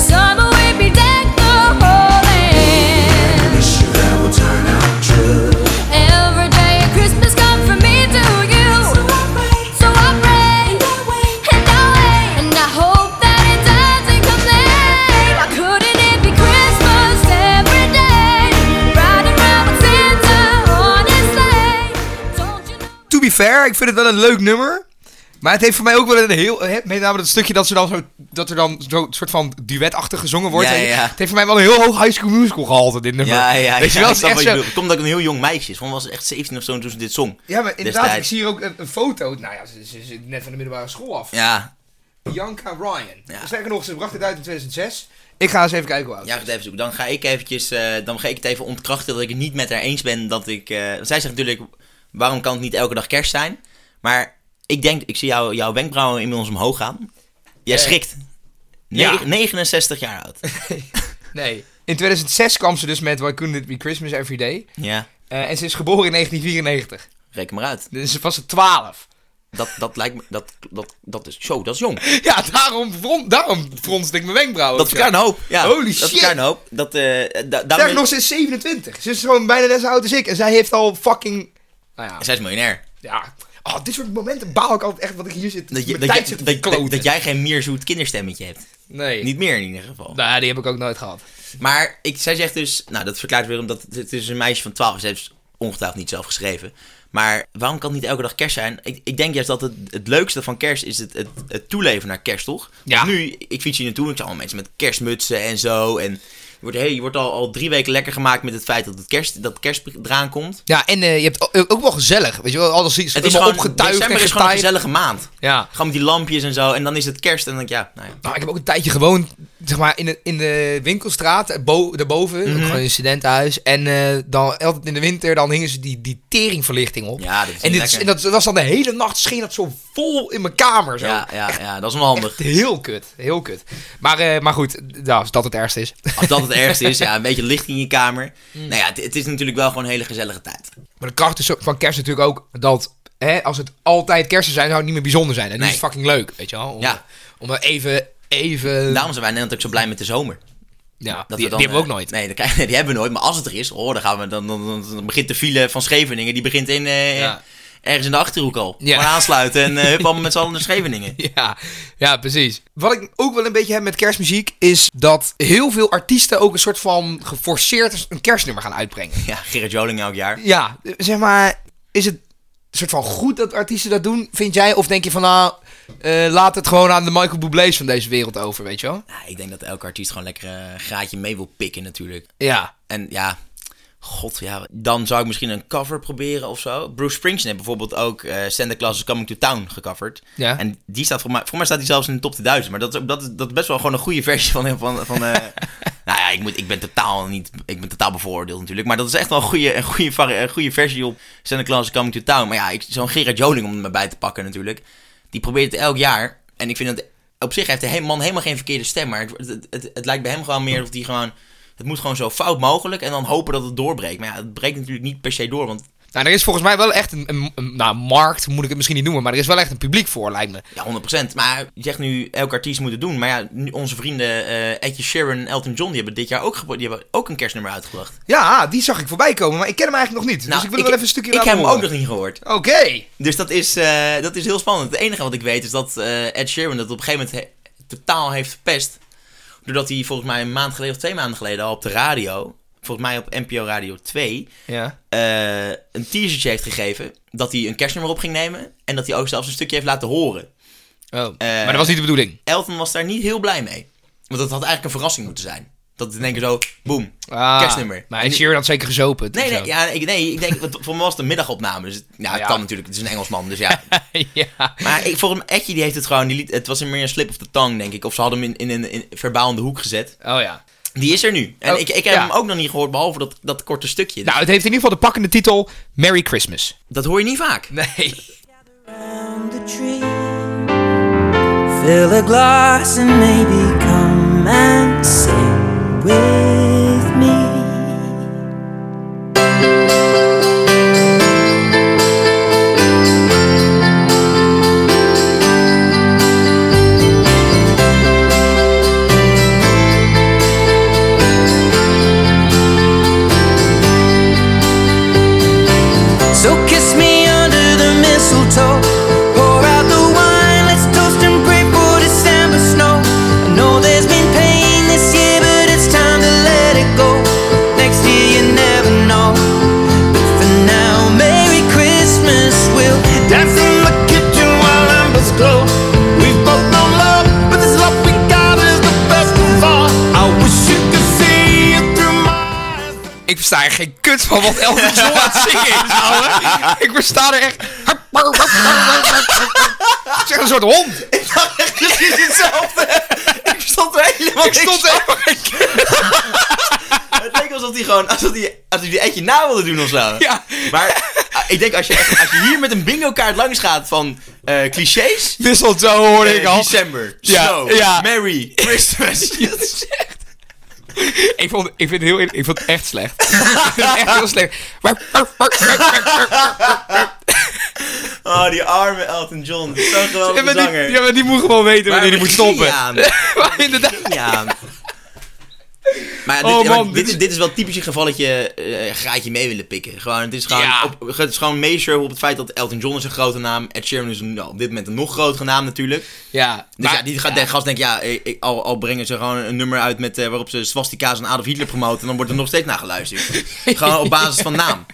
S6: Summer we be dead the whole land. Every day at Christmas come from me to you. So I pray, and I wait, and I hope that it doesn't come late. Why couldn't it be Christmas every day? Riding around with Santa on his sleigh. Don't you know?
S1: To be fair, ik vind het wel een leuk nummer. Maar het heeft voor mij ook wel een heel... eh, Met name dat stukje dat, ze dan zo, dat er dan zo'n soort van duetachtig gezongen wordt.
S2: Ja,
S1: En
S2: ja.
S1: Het heeft voor mij wel een heel hoog High School Musical gehalte, dit nummer.
S2: Ja, ja,
S1: Weet
S2: ja,
S1: je wel, het
S2: ik
S1: is
S2: snap
S1: echt
S2: wat je
S1: zo...
S2: bedoelt. Het komt dat ik een heel jong meisje is. Van was echt 17 of zo toen ze dit zong.
S1: Ja, maar inderdaad, ik
S2: Destijds.
S1: zie hier ook een, een foto. Nou ja, ze, ze zit net van de middelbare school af.
S2: Ja,
S1: Bianca Ryan.
S2: Ja.
S1: Sterker nog, ze bracht het uit in 2006. Ik ga eens even kijken hoe oud
S2: ja,
S1: ze
S2: wacht even zoeken. Dan ga ik eventjes, eh, dan ga ik het even ontkrachten dat ik het niet met haar eens ben dat ik... eh, zij zegt natuurlijk, waarom kan het niet elke dag kerst zijn? Maar ik denk, ik zie jou, jouw wenkbrauwen inmiddels omhoog gaan. Jij schrikt.
S1: ja.
S2: Negen- 69 jaar oud.
S1: is. Nee. In 2006 kwam ze dus met Why Couldn't It Be Christmas Every Day.
S2: ja,
S1: Eh, en ze is geboren in 1994.
S2: reken maar uit.
S1: Dus ze was ze 12.
S2: Dat, dat lijkt me, dat, dat, dat is, zo, dat is jong.
S1: Ja, daarom, fron, daarom fronste ik mijn wenkbrauwen.
S2: Dat
S1: ook zo.
S2: verklaart een hoop. Ja,
S1: Holy
S2: dat
S1: shit.
S2: verklaart een hoop. Dat, eh da- daarom
S1: Sterker
S2: is-
S1: nog, ze is 27. Ze is gewoon bijna net zo oud als ik. En zij heeft al fucking... Nou ja,
S2: Zij is miljonair.
S1: ja. Oh, dit soort momenten baal ik altijd echt wat ik hier zit.
S2: Dat,
S1: Dat
S2: je,
S1: mijn
S2: dat,
S1: tijd zit
S2: jij-
S1: te
S2: dat, dat,
S1: kloten.
S2: dat jij geen meer zoet kinderstemmetje hebt.
S1: Nee.
S2: Niet meer in ieder geval.
S1: Nou, die heb ik ook nooit gehad.
S2: Maar ik, zij zegt dus, nou dat verklaart weer omdat het, het is een meisje van 12. Ze heeft ongetwijfeld niet zelf geschreven. Maar waarom kan het niet elke dag kerst zijn? Ik, ik denk juist dat het, het leukste van kerst is het, het, het toeleven naar kerst, toch? Want
S1: Ja.
S2: nu, ik fiets hier naartoe en ik zag allemaal mensen met kerstmutsen en zo. En je wordt, hey, je wordt al, al drie weken lekker gemaakt met het feit dat het kerst, dat kerst eraan komt.
S1: Ja, en eh, je hebt o- ook wel gezellig. Weet je wel, alles is,
S2: Het is
S1: helemaal
S2: gewoon,
S1: opgetuigd en
S2: december is gewoon een
S1: getaaid.
S2: gezellige maand.
S1: Ja.
S2: Gewoon met die lampjes en zo. En dan is het kerst en dan denk ik, ja, nou ja.
S1: Nou, ik heb ook een tijdje gewoond, zeg maar, in de, in de winkelstraat, eh, bo daarboven,
S2: Mhm.
S1: ook gewoon in een studentenhuis. En eh, dan altijd in de winter, dan hingen ze die, die teringverlichting op.
S2: Ja, dat is
S1: en, dit,
S2: lekker.
S1: en dat was dan de hele nacht, scheen dat zo vol in mijn kamer. Zo.
S2: Ja, ja, ja, dat is onhandig.
S1: Echt heel kut, heel kut. Maar, eh, maar goed, nou, als dat het ergste is.
S2: Als dat het ergste is, ja, een beetje licht in je kamer.
S1: Mm.
S2: Nou ja, het, het is natuurlijk wel gewoon een hele gezellige tijd.
S1: Maar de kracht is ook- van kerst natuurlijk ook dat hè, als het altijd kerst zou zijn, zou het niet meer bijzonder zijn. En nu
S2: Nee.
S1: is het fucking leuk, weet je wel. Om, eh,
S2: Ja.
S1: om er even, even...
S2: Daarom zijn wij Nederland ook zo blij met de zomer.
S1: ja, die,
S2: Dat
S1: die
S2: dan,
S1: hebben we ook
S2: eh,
S1: nooit.
S2: Nee, dat krijgen- die hebben we nooit. Maar als het er is, oh, dan, gaan we, dan, dan, dan- dan begint de file van Scheveningen. Die begint in, eh,
S1: Ja.
S2: ergens in de Achterhoek al.
S1: Ja.
S2: Gewoon aansluiten en eh hup, allemaal met z'n allen naar Scheveningen.
S1: Ja, ja, precies. Wat ik ook wel een beetje heb met kerstmuziek is dat heel veel artiesten ook een soort van geforceerd een kerstnummer gaan uitbrengen.
S2: Ja, Gerrit Joling elk jaar.
S1: Ja, eh, zeg maar, is het een soort van goed dat artiesten dat doen, vind jij? Of denk je van nou, eh, laat het gewoon aan de Michael Bublé's van deze wereld over, weet je wel?
S2: Ja, ik denk dat elke artiest gewoon lekker eh, een graadje mee wil pikken natuurlijk.
S1: Ja.
S2: En ja, god ja, dan zou ik misschien een cover proberen of zo. Bruce Springsteen heeft bijvoorbeeld ook eh Santa Claus is Coming to Town gecoverd.
S1: Ja.
S2: En die staat voor mij, voor mij staat die zelfs in de top 1000. Maar dat is, ook- dat is, dat is best wel gewoon een goede versie van... van, van eh, nou ja, ik, moet, ik ben totaal niet, ik ben totaal bevooroordeeld natuurlijk. Maar dat is echt wel een goede, een goede, vari- een goede versie op Santa Claus is Coming to Town. Maar ja, ik- zo'n Gerard Joling om me bij te pakken natuurlijk. Die probeert het elk jaar. En ik vind dat, op zich heeft de he- man helemaal geen verkeerde stem. Maar het, het, het, het lijkt bij hem gewoon meer of die gewoon... Het moet gewoon zo fout mogelijk en dan hopen dat het doorbreekt. Maar ja, het breekt natuurlijk niet per se door, want
S1: Nou, er is volgens mij wel echt een, een, een- nou, markt, moet ik het misschien niet noemen, maar er is wel echt een publiek voor, lijkt me.
S2: ja, 100%. Maar je zegt nu, elke artiest moet het doen. Maar ja, nu onze vrienden eh Edje Sharon en Elton John, die hebben dit jaar ook, gepro- die hebben ook een kerstnummer uitgebracht. Nou,
S1: Ja, die zag ik voorbij komen, maar ik ken hem eigenlijk nog niet. dus ik wil er wel even een stukje
S2: Ik
S1: laten
S2: heb hem ook nog
S1: horen.
S2: niet gehoord.
S1: Oké.
S2: Dus dat is, eh, dat is heel spannend. Het enige wat ik weet is dat eh, Ed Sheeran dat op een gegeven moment he- totaal heeft verpest. Doordat hij volgens mij een maand geleden of twee maanden geleden al op de radio, volgens mij op NPO Radio 2,
S1: Ja.
S2: eh, een teasertje heeft gegeven dat hij een kerstnummer op ging nemen en dat hij ook zelfs een stukje heeft laten horen.
S1: Oh. maar dat was niet de bedoeling.
S2: Elton was daar niet heel blij mee. Want dat had eigenlijk een verrassing moeten zijn. Dat in één keer zo, boem,
S1: Ah,
S2: kerstnummer.
S1: Maar en Sheeran had zeker gezopen.
S2: Nee,
S1: of
S2: nee,
S1: zo.
S2: ja, ik, nee, ik denk, want voor me was het een middagopname. Dus, het- ja, het
S1: Ja.
S2: kan natuurlijk, het is een Engelsman, dus ja.
S1: ja.
S2: Maar ik, volgens mij, Etje die heeft het gewoon, die liet, het was meer een slip of the tongue, denk ik. Of ze hadden hem in, in een in, verbaal in de hoek gezet.
S1: Oh ja.
S2: Die is er nu. En
S1: Oh,
S2: ik, ik heb
S1: ja.
S2: hem ook nog niet gehoord, behalve dat, dat korte stukje.
S1: Nou, het heeft in ieder geval de pakkende titel Merry Christmas.
S2: dat hoor je niet vaak.
S1: Nee.
S7: around the tree. Fill a glass and maybe come and sit with me. So kiss me under the mistletoe. Pour out the wine, let's toast and pray for December snow. I know there's been pain this year, but it's time to let it go. Next year you never know. But for now, Merry Christmas. We'll dance in the kitchen while embers glow. We've both known love, but this love we got is the best of all. I wish you could see it through my eyes.
S1: Ik versta er geen kut van wat Elton John aan het zingen is, ouwe. Ik versta er echt... Het is echt een soort hond.
S2: Precies hetzelfde. ik stond er helemaal
S1: Ik stond
S2: niks
S1: helemaal geen kut.
S2: van. Het leek alsof hij gewoon, alsof hij, alsof hij Etje na wilde doen of zo.
S1: Ja.
S2: Maar ah, ik denk, als je, echt- als je hier met een bingo kaart langs gaat van eh, clichés...
S1: Mistletoe hoorde ik
S2: eh,
S1: al.
S2: December,
S1: Ja,
S2: snow,
S1: ja.
S2: merry, Christmas. Dat is echt-
S1: Ik, vond, ik, vind het heel, eerlijk, ik vond het echt slecht. ik vind het echt heel slecht.
S2: oh, die arme Elton John. Zo'n
S1: Ja,
S2: geweldige
S1: maar die,
S2: zanger.
S1: ja, maar die moet gewoon weten wanneer die moet
S2: begin je
S1: stoppen.
S2: aan?
S1: maar inderdaad.
S2: Ja. Maar ja, dit,
S1: Oh,
S2: maar
S1: man,
S2: dit,
S1: dit is-
S2: is, dit is wel typisch een gevalletje eh graadje mee willen pikken. Gewoon, het is gewoon,
S1: Ja.
S2: op, het is gewoon meesure op het feit dat Elton John is een grote naam. Ed Sheeran is een, nou, op dit moment een nog grotere naam natuurlijk.
S1: Ja,
S2: Dus ja, die gaat, de gast denkt, ja, ik, ik- al, al brengen ze gewoon een nummer uit met, eh, waarop ze swastika's en Adolf Hitler promoten. Dan wordt er nog steeds naar geluisterd. gewoon op basis van naam.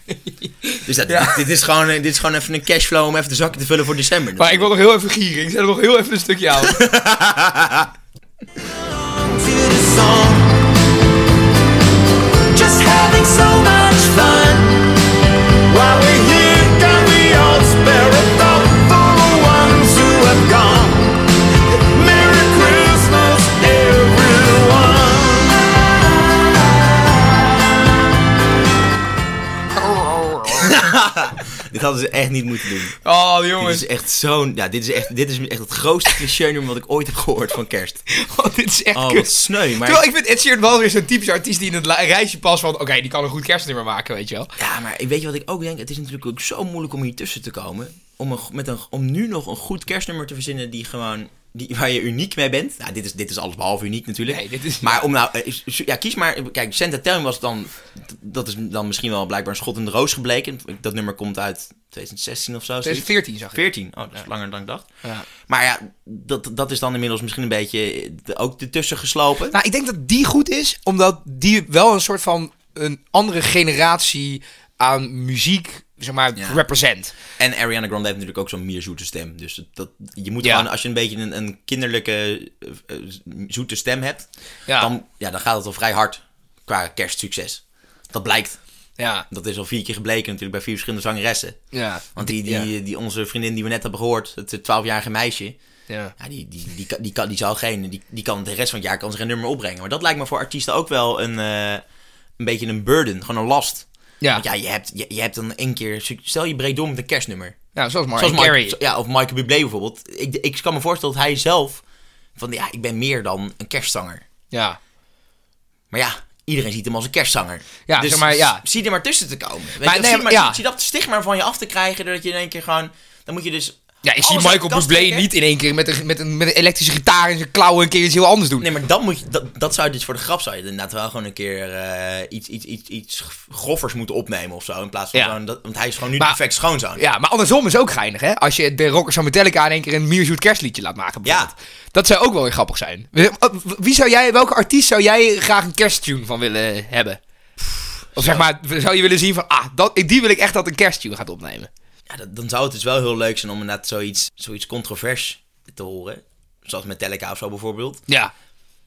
S2: Dus ja, Dit, dit is gewoon, eh, dit is gewoon even een cashflow om even de zakken te vullen voor december.
S1: Maar ik wil nog heel even gieren. Ik zet er nog heel even een stukje aan.
S7: to the song. Just having so much fun. While we're here, can we all spare a thought for the ones who have gone? Merry Christmas, everyone.
S2: Dit hadden ze echt niet moeten doen.
S1: Oh, die
S2: Dit
S1: jongens.
S2: is echt zo'n. Ja, dit is echt, dit is echt het grootste cliché nummer wat ik ooit heb gehoord van kerst.
S1: Oh, dit is echt
S2: Oh, wat
S1: kut.
S2: sneu. Maar,
S1: Terwijl ik vind Ed Sheeran wel weer zo'n typische artiest die in het la- rijtje past van... Oké, die kan een goed kerstnummer maken, weet je wel.
S2: ja, maar weet je wat ik ook denk? Het is natuurlijk ook zo moeilijk om hier tussen te komen. Om, een, go- met een, om nu nog een goed kerstnummer te verzinnen die gewoon. Die, waar je uniek mee bent. Nou, dit is, dit is alles behalve uniek natuurlijk.
S1: Nee, dit is-
S2: Maar om nou. eh, is- Ja, kies maar. Kijk, Santa Tell Me was dan. Dat is dan misschien wel blijkbaar een schot in de roos gebleken. Dat nummer komt uit 2016 of zo. zoiets.
S1: 2014 zag ik.
S2: 14. Oh, dat is langer dan ik dacht.
S1: Ja.
S2: Maar ja, dat, dat is dan inmiddels misschien een beetje de- ook ertussen geslopen.
S1: Nou, ik denk dat die goed is, omdat die wel een soort van een andere generatie aan muziek, zeg maar,
S2: Ja.
S1: represent.
S2: En Ariana Grande heeft natuurlijk ook zo'n meer zoete stem. Dus dat- dat, je moet
S1: Ja.
S2: gewoon, als je een beetje een, een kinderlijke eh, eh, zoete stem hebt,
S1: Ja.
S2: Dan, ja, dan gaat het al vrij hard qua kerstsucces. Dat blijkt.
S1: Ja,
S2: Dat is al vier keer gebleken natuurlijk bij vier verschillende zangeressen.
S1: ja.
S2: Want die, eh, die, die, onze vriendin die we net hebben gehoord, het eh, 12-jarige meisje,
S1: ja.
S2: ja, die, die, die, kan- die, kan, die zou geen, die, die kan de rest van het jaar kan ze geen nummer opbrengen. Maar dat lijkt me voor artiesten ook wel een, eh, een beetje een burden, gewoon een last.
S1: Ja.
S2: Want ja, je hebt, je, je hebt dan één keer, suc- stel je breekt door met een kerstnummer.
S1: Nou, zoals Mariah
S2: Zoals
S1: Carey.
S2: Mike, ja, of Michael Bublé bijvoorbeeld. Ik, ik kan me voorstellen dat hij zelf van, ja, ik ben meer dan een kerstzanger.
S1: ja.
S2: Maar ja, iedereen ziet hem als een kerstzanger.
S1: Ja,
S2: dus
S1: zeg maar, ja.
S2: zie er maar tussen te komen. Weet
S1: Maar
S2: je,
S1: nee,
S2: zie, maar,
S1: ja.
S2: zie dat stigma van je af te krijgen, doordat je in één keer gewoon... Dan moet je dus
S1: Ja, ik zie
S2: Alles uit
S1: Michael
S2: de tas
S1: Bublé
S2: trekken?
S1: niet in één keer met een, met, een, met een elektrische gitaar in zijn klauwen een keer iets heel anders doen.
S2: Nee, maar dat moet je, dat, dat zou je dus voor de grap zou je inderdaad wel gewoon een keer eh, iets, iets, iets, iets groffers moeten opnemen of zo. In plaats van
S1: Ja.
S2: gewoon dat, want hij is gewoon nu
S1: Maar-
S2: perfect schoonzoon.
S1: Ja, maar andersom is ook geinig, hè? Als je de rockers van Metallica in één keer een Meershoot kerstliedje laat maken, bijvoorbeeld. Dat zou ook wel weer grappig zijn. oh, Wie zou jij, welke artiest zou jij graag een kersttune van willen hebben? Of zeg maar, zou je willen zien van, ah, dat, die wil ik echt dat een kersttune gaat opnemen.
S2: Ja, dat- dan zou het dus wel heel leuk zijn om inderdaad zoiets, zoiets controvers te horen. Zoals Metallica of zo bijvoorbeeld.
S1: Ja.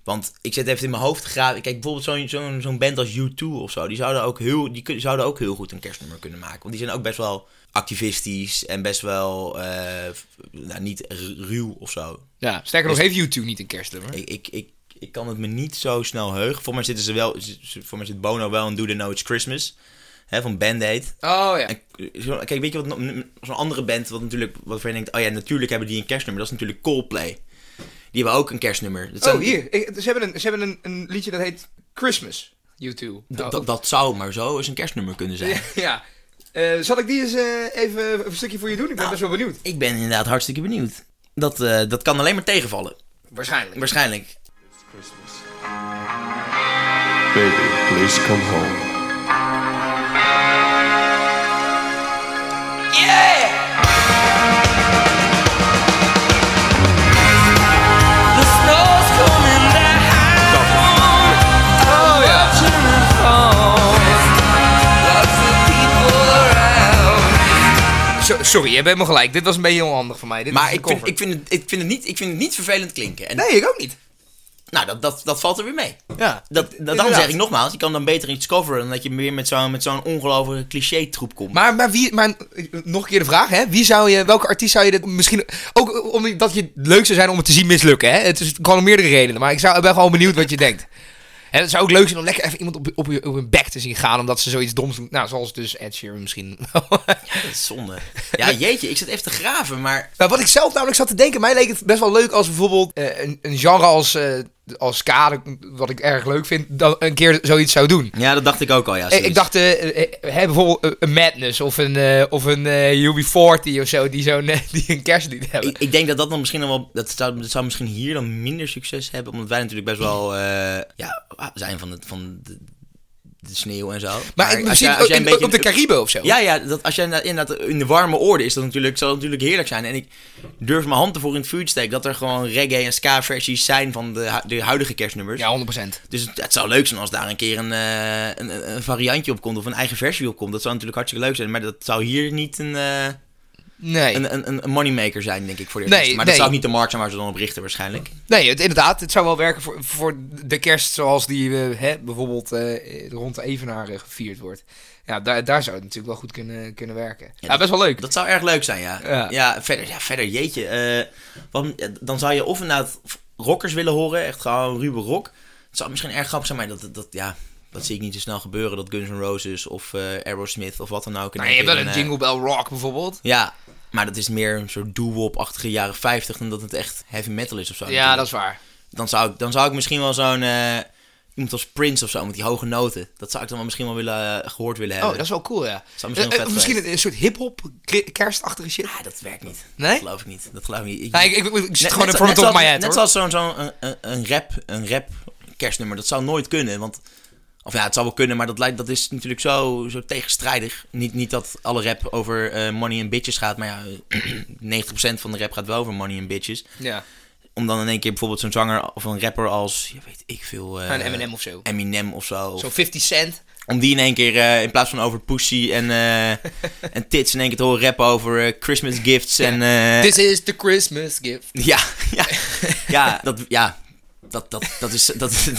S2: Want ik zit even in mijn hoofd te graven. Kijk, bijvoorbeeld zo'n zo'n zo'n band als U2 of zo. Die zouden, ook heel, die kun- zouden ook heel goed een kerstnummer kunnen maken. Want die zijn ook best wel activistisch en best wel eh, f- nou, niet ru- ruw of zo.
S1: ja. Sterker nog, heeft YouTube niet een kerstnummer?
S2: Ik, ik, ik, ik kan het me niet zo snel heugen. Voor mij zitten ze wel. z- z- Voor mij zit Bono wel en Do They Know It's Christmas. Hè, van Band-Aid.
S1: Oh ja.
S2: En, eh, zo- Kijk, weet je wat? no- n- Zo'n andere band, wat natuurlijk. Waarvan je denkt, oh ja, natuurlijk hebben die een kerstnummer. Dat is natuurlijk Coldplay. Die hebben ook een kerstnummer. Dat
S1: Oh,
S2: zou-
S1: hier. Ik- ze hebben, een, ze hebben een, een liedje dat heet Christmas, YouTube.
S2: Dat, dat, dat zou maar zo eens een kerstnummer kunnen zijn.
S1: Ja. Eh, zal ik die eens eh, even een stukje voor je doen? Ik ben best wel benieuwd.
S2: Nou, Ik ben inderdaad hartstikke benieuwd. Dat, eh, dat kan alleen maar tegenvallen.
S1: Waarschijnlijk.
S2: Waarschijnlijk.
S8: Baby, please come home.
S7: The snow's coming down.
S1: Oh ja.
S7: Lots of people around.
S1: Zo- sorry, je hebt helemaal gelijk. Dit was een beetje onhandig van mij. Dit was
S2: Maar
S1: een
S2: ik vind,
S1: cover.
S2: ik, vind het, ik, vind het niet, ik vind het niet vervelend klinken. En
S1: Nee, ik ook niet.
S2: nou, dat, dat, dat valt er weer mee.
S1: Ja.
S2: Dat, dat, daarom
S1: Inderdaad.
S2: zeg ik nogmaals, je kan dan beter iets coveren dan dat je weer met zo'n met zo'n ongelooflijke cliché-troep komt.
S1: Maar, maar, wie, maar eh, nog een keer de vraag, hè? Wie zou je, welke artiest zou je dit misschien... Ook omdat je het leuk zou zijn om het te zien mislukken, hè? Het is gewoon om meerdere redenen, maar ik zou, ik ben gewoon benieuwd wat je denkt. En het zou ook leuk zijn om lekker even iemand op, op, je- op hun bek te zien gaan, omdat ze zoiets doms doen. Nou, zoals dus Ed Sheeran misschien.
S2: dat is zonde. Ja, jeetje, ik zit even te graven, maar...
S1: Nou, wat ik zelf namelijk zat te denken, mij leek het best wel leuk als bijvoorbeeld eh, een, een genre als, eh als kader, wat ik erg leuk vind, dan een keer zoiets zou doen.
S2: Ja, dat dacht ik ook al, ja.
S1: Ik, ik dacht eh, eh, eh, hè, bijvoorbeeld eh, een Madness of een, eh, of een eh, UB40 of zo, die, zo'n, eh, die een kerstlied hebben.
S2: Ik, ik denk dat dat dan misschien dan wel... Dat zou, dat zou misschien hier dan minder succes hebben, omdat wij natuurlijk best wel... eh, ja, zijn van, het, van de, de sneeuw en zo.
S1: maar ik, misschien ook in- op de Cariben of zo.
S2: Ja, ja, dat, als jij inderdaad- inderdaad in de warme oorden is, dat natuurlijk, zal dat natuurlijk heerlijk zijn. En ik durf mijn hand ervoor in het vuur te steken dat er gewoon reggae- en ska-versies zijn van de, hu- de huidige kerstnummers.
S1: Ja, 100%.
S2: Dus het, het zou leuk zijn als daar een keer een, eh, een- een, een variantje op komt of een eigen versie op komt. Dat zou natuurlijk hartstikke leuk zijn, maar dat zou hier niet een, eh,
S1: Nee,
S2: een, een, een- een moneymaker zijn, denk ik, voor de
S1: Nee,
S2: artiesten. Maar
S1: nee.
S2: dat zou ook niet de markt zijn waar ze dan op richten waarschijnlijk.
S1: nee het, inderdaad. Het zou wel werken voor, voor de kerst zoals die eh, hè, bijvoorbeeld eh, rond de Evenaar eh, gevierd wordt. Ja, daar, daar zou het natuurlijk wel goed kunnen, kunnen werken. Ja, best wel leuk.
S2: Dat zou erg leuk zijn, ja.
S1: Ja.
S2: Ja, verder, ja, verder jeetje. eh, want, ja, dan zou je of inderdaad rockers willen horen, echt gewoon ruwe rock. Het zou misschien erg grappig zijn, maar dat, dat, ja, dat zie ik niet zo snel gebeuren. Dat Guns N' Roses of eh, Aerosmith of wat dan ook. in
S1: Nou, je hebt wel
S2: keer
S1: een
S2: eh,
S1: Jingle Bell Rock bijvoorbeeld.
S2: Ja, maar dat is meer een soort doo-wop-achtige jaren 50 dan dat het echt heavy metal is of zo.
S1: Ja,
S2: natuurlijk.
S1: dat is waar.
S2: dan, zou ik, dan zou ik misschien wel zo'n... eh, Iemand als Prince of zo, met die hoge noten. Dat zou ik dan wel misschien wel willen, eh, gehoord willen
S1: Oh,
S2: hebben.
S1: dat is wel cool, ja.
S2: Zou misschien wel
S1: Eh, eh,
S2: vet
S1: misschien een,
S2: geweest.
S1: een soort hip-hop kri- kerstachtige shit.
S2: Ah, dat werkt niet.
S1: Nee?
S2: Dat geloof ik niet. Dat geloof ik niet. Ik-
S1: Nou, ik, ik, ik zit
S2: Net-
S1: gewoon
S2: net
S1: in
S2: zo-
S1: front
S2: net
S1: of my
S2: zoals-
S1: head,
S2: Net
S1: hoor.
S2: zoals zo'n zo'n- een- een, een rap, een rap kerstnummer. Dat zou nooit kunnen, want... Of ja, het zou wel kunnen, maar dat, lijkt, dat is natuurlijk zo, zo tegenstrijdig. Niet, niet dat alle rap over eh, money en bitches gaat, maar ja, 90% van de rap gaat wel over money en bitches.
S1: Ja.
S2: Om dan in één keer bijvoorbeeld zo'n zanger of een rapper als, ja, weet ik veel... eh,
S1: Een Eminem of zo.
S2: Eminem of zo. Of-
S1: Zo'n 50 cent.
S2: om die in één keer, eh, in plaats van over pussy en, eh, en tits, in één keer te horen rappen over eh, Christmas gifts en... eh,
S1: This is the Christmas gift.
S2: Ja, ja, ja, dat, ja, dat, dat, dat is, dat, dat, dat,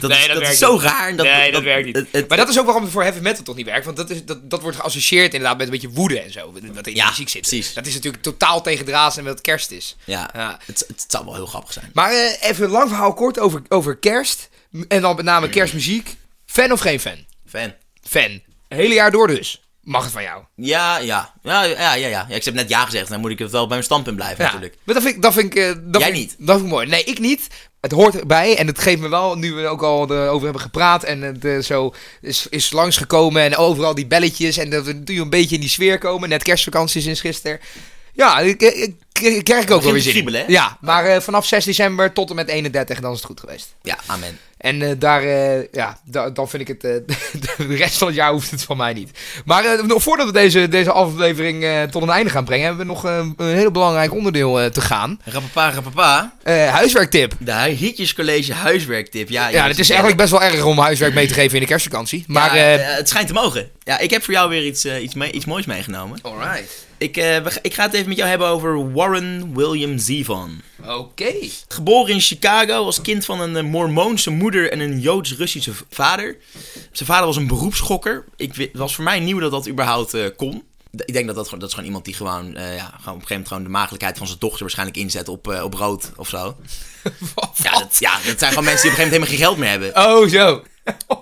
S2: dat is, dat is zo raar. en Dat, nee, dat, werkt niet. Het, het-
S1: Maar dat is ook waarom het voor heavy metal toch niet werkt. Want dat, is, dat, dat wordt geassocieerd inderdaad met een beetje woede en zo. Wat in de
S2: Ja,
S1: muziek zit.
S2: precies.
S1: Dat is natuurlijk totaal tegen draad en wat kerst is.
S2: ja,
S1: Ja.
S2: Het, het zou wel heel grappig zijn.
S1: Maar eh, even een lang verhaal kort over, over kerst. M- En dan met name kerstmuziek. Fan of geen fan?
S2: Fan.
S1: Fan. Het hele jaar door dus. Mag het van jou.
S2: Ja, ja, ja, ja, ja, ja. ja ik heb net ja gezegd, dan moet ik het wel bij mijn standpunt blijven
S1: Ja.
S2: natuurlijk.
S1: Maar dat vind ik... Dat vind ik eh, dat
S2: Jij
S1: vind, ik-
S2: niet?
S1: Dat vind ik mooi. Nee, ik niet. Het hoort erbij en het geeft me wel, nu we er ook al eh, over hebben gepraat en het eh, zo is, is langsgekomen en overal die belletjes en dat we nu een beetje in die sfeer komen. Net kerstvakantie sinds gisteren. Ja, ik, ik, ik- ik krijg ik ook wel weer
S2: te
S1: zin in.
S2: kriebelen, hè?
S1: Ja, maar eh, vanaf 6 december tot en met 31, dan is het goed geweest.
S2: Ja, amen.
S1: En eh, daar, eh, ja, da- dan vind ik het, eh, de rest van het jaar hoeft het van mij niet. Maar eh, nog voordat we deze, deze aflevering eh, tot een einde gaan brengen, hebben we nog eh, een heel belangrijk onderdeel eh, te gaan.
S2: Rappapa, rappapa.
S1: Eh, huiswerktip.
S2: De hu- Hietjescollege huiswerktip. Nou, Ja,
S1: Ja, het is eigenlijk best wel erg om huiswerk mee te geven in de kerstvakantie. Maar,
S2: Maar
S1: eh
S2: het schijnt te mogen. Ja, ik heb voor jou weer iets, eh, iets, mee- iets moois meegenomen.
S1: alright.
S2: Ik, eh, we ga- ik ga het even met jou hebben over Warren William Zevon.
S1: Oké.
S2: Geboren in Chicago als kind van een eh, Mormoonse moeder en een Joods-Russische v- vader. Zijn vader was een beroepsschokker. Ik, wi- het was voor mij nieuw dat dat überhaupt eh, kon. D- Ik denk dat dat, gewoon, dat is gewoon iemand die gewoon, eh, ja, gewoon op een gegeven moment gewoon de maagdelijkheid van zijn dochter waarschijnlijk inzet op, eh, op rood of zo. Ja dat, ja, dat zijn gewoon mensen die op een gegeven moment helemaal geen geld meer hebben.
S1: Oh, zo.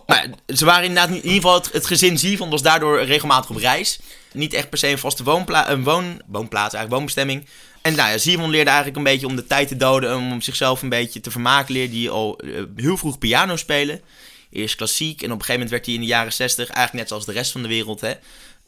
S2: Maar ze waren inderdaad niet- in ieder geval het, het gezin Zivon was daardoor regelmatig op reis. Niet echt per se een vaste woonpla een woon, woonplaats, eigenlijk woonbestemming. En nou ja, Zivon leerde eigenlijk een beetje om de tijd te doden, om zichzelf een beetje te vermaken. Leerde hij al eh, heel vroeg piano spelen. Eerst klassiek en op een gegeven moment werd hij in de jaren 60, eigenlijk net zoals de rest van de wereld, hè,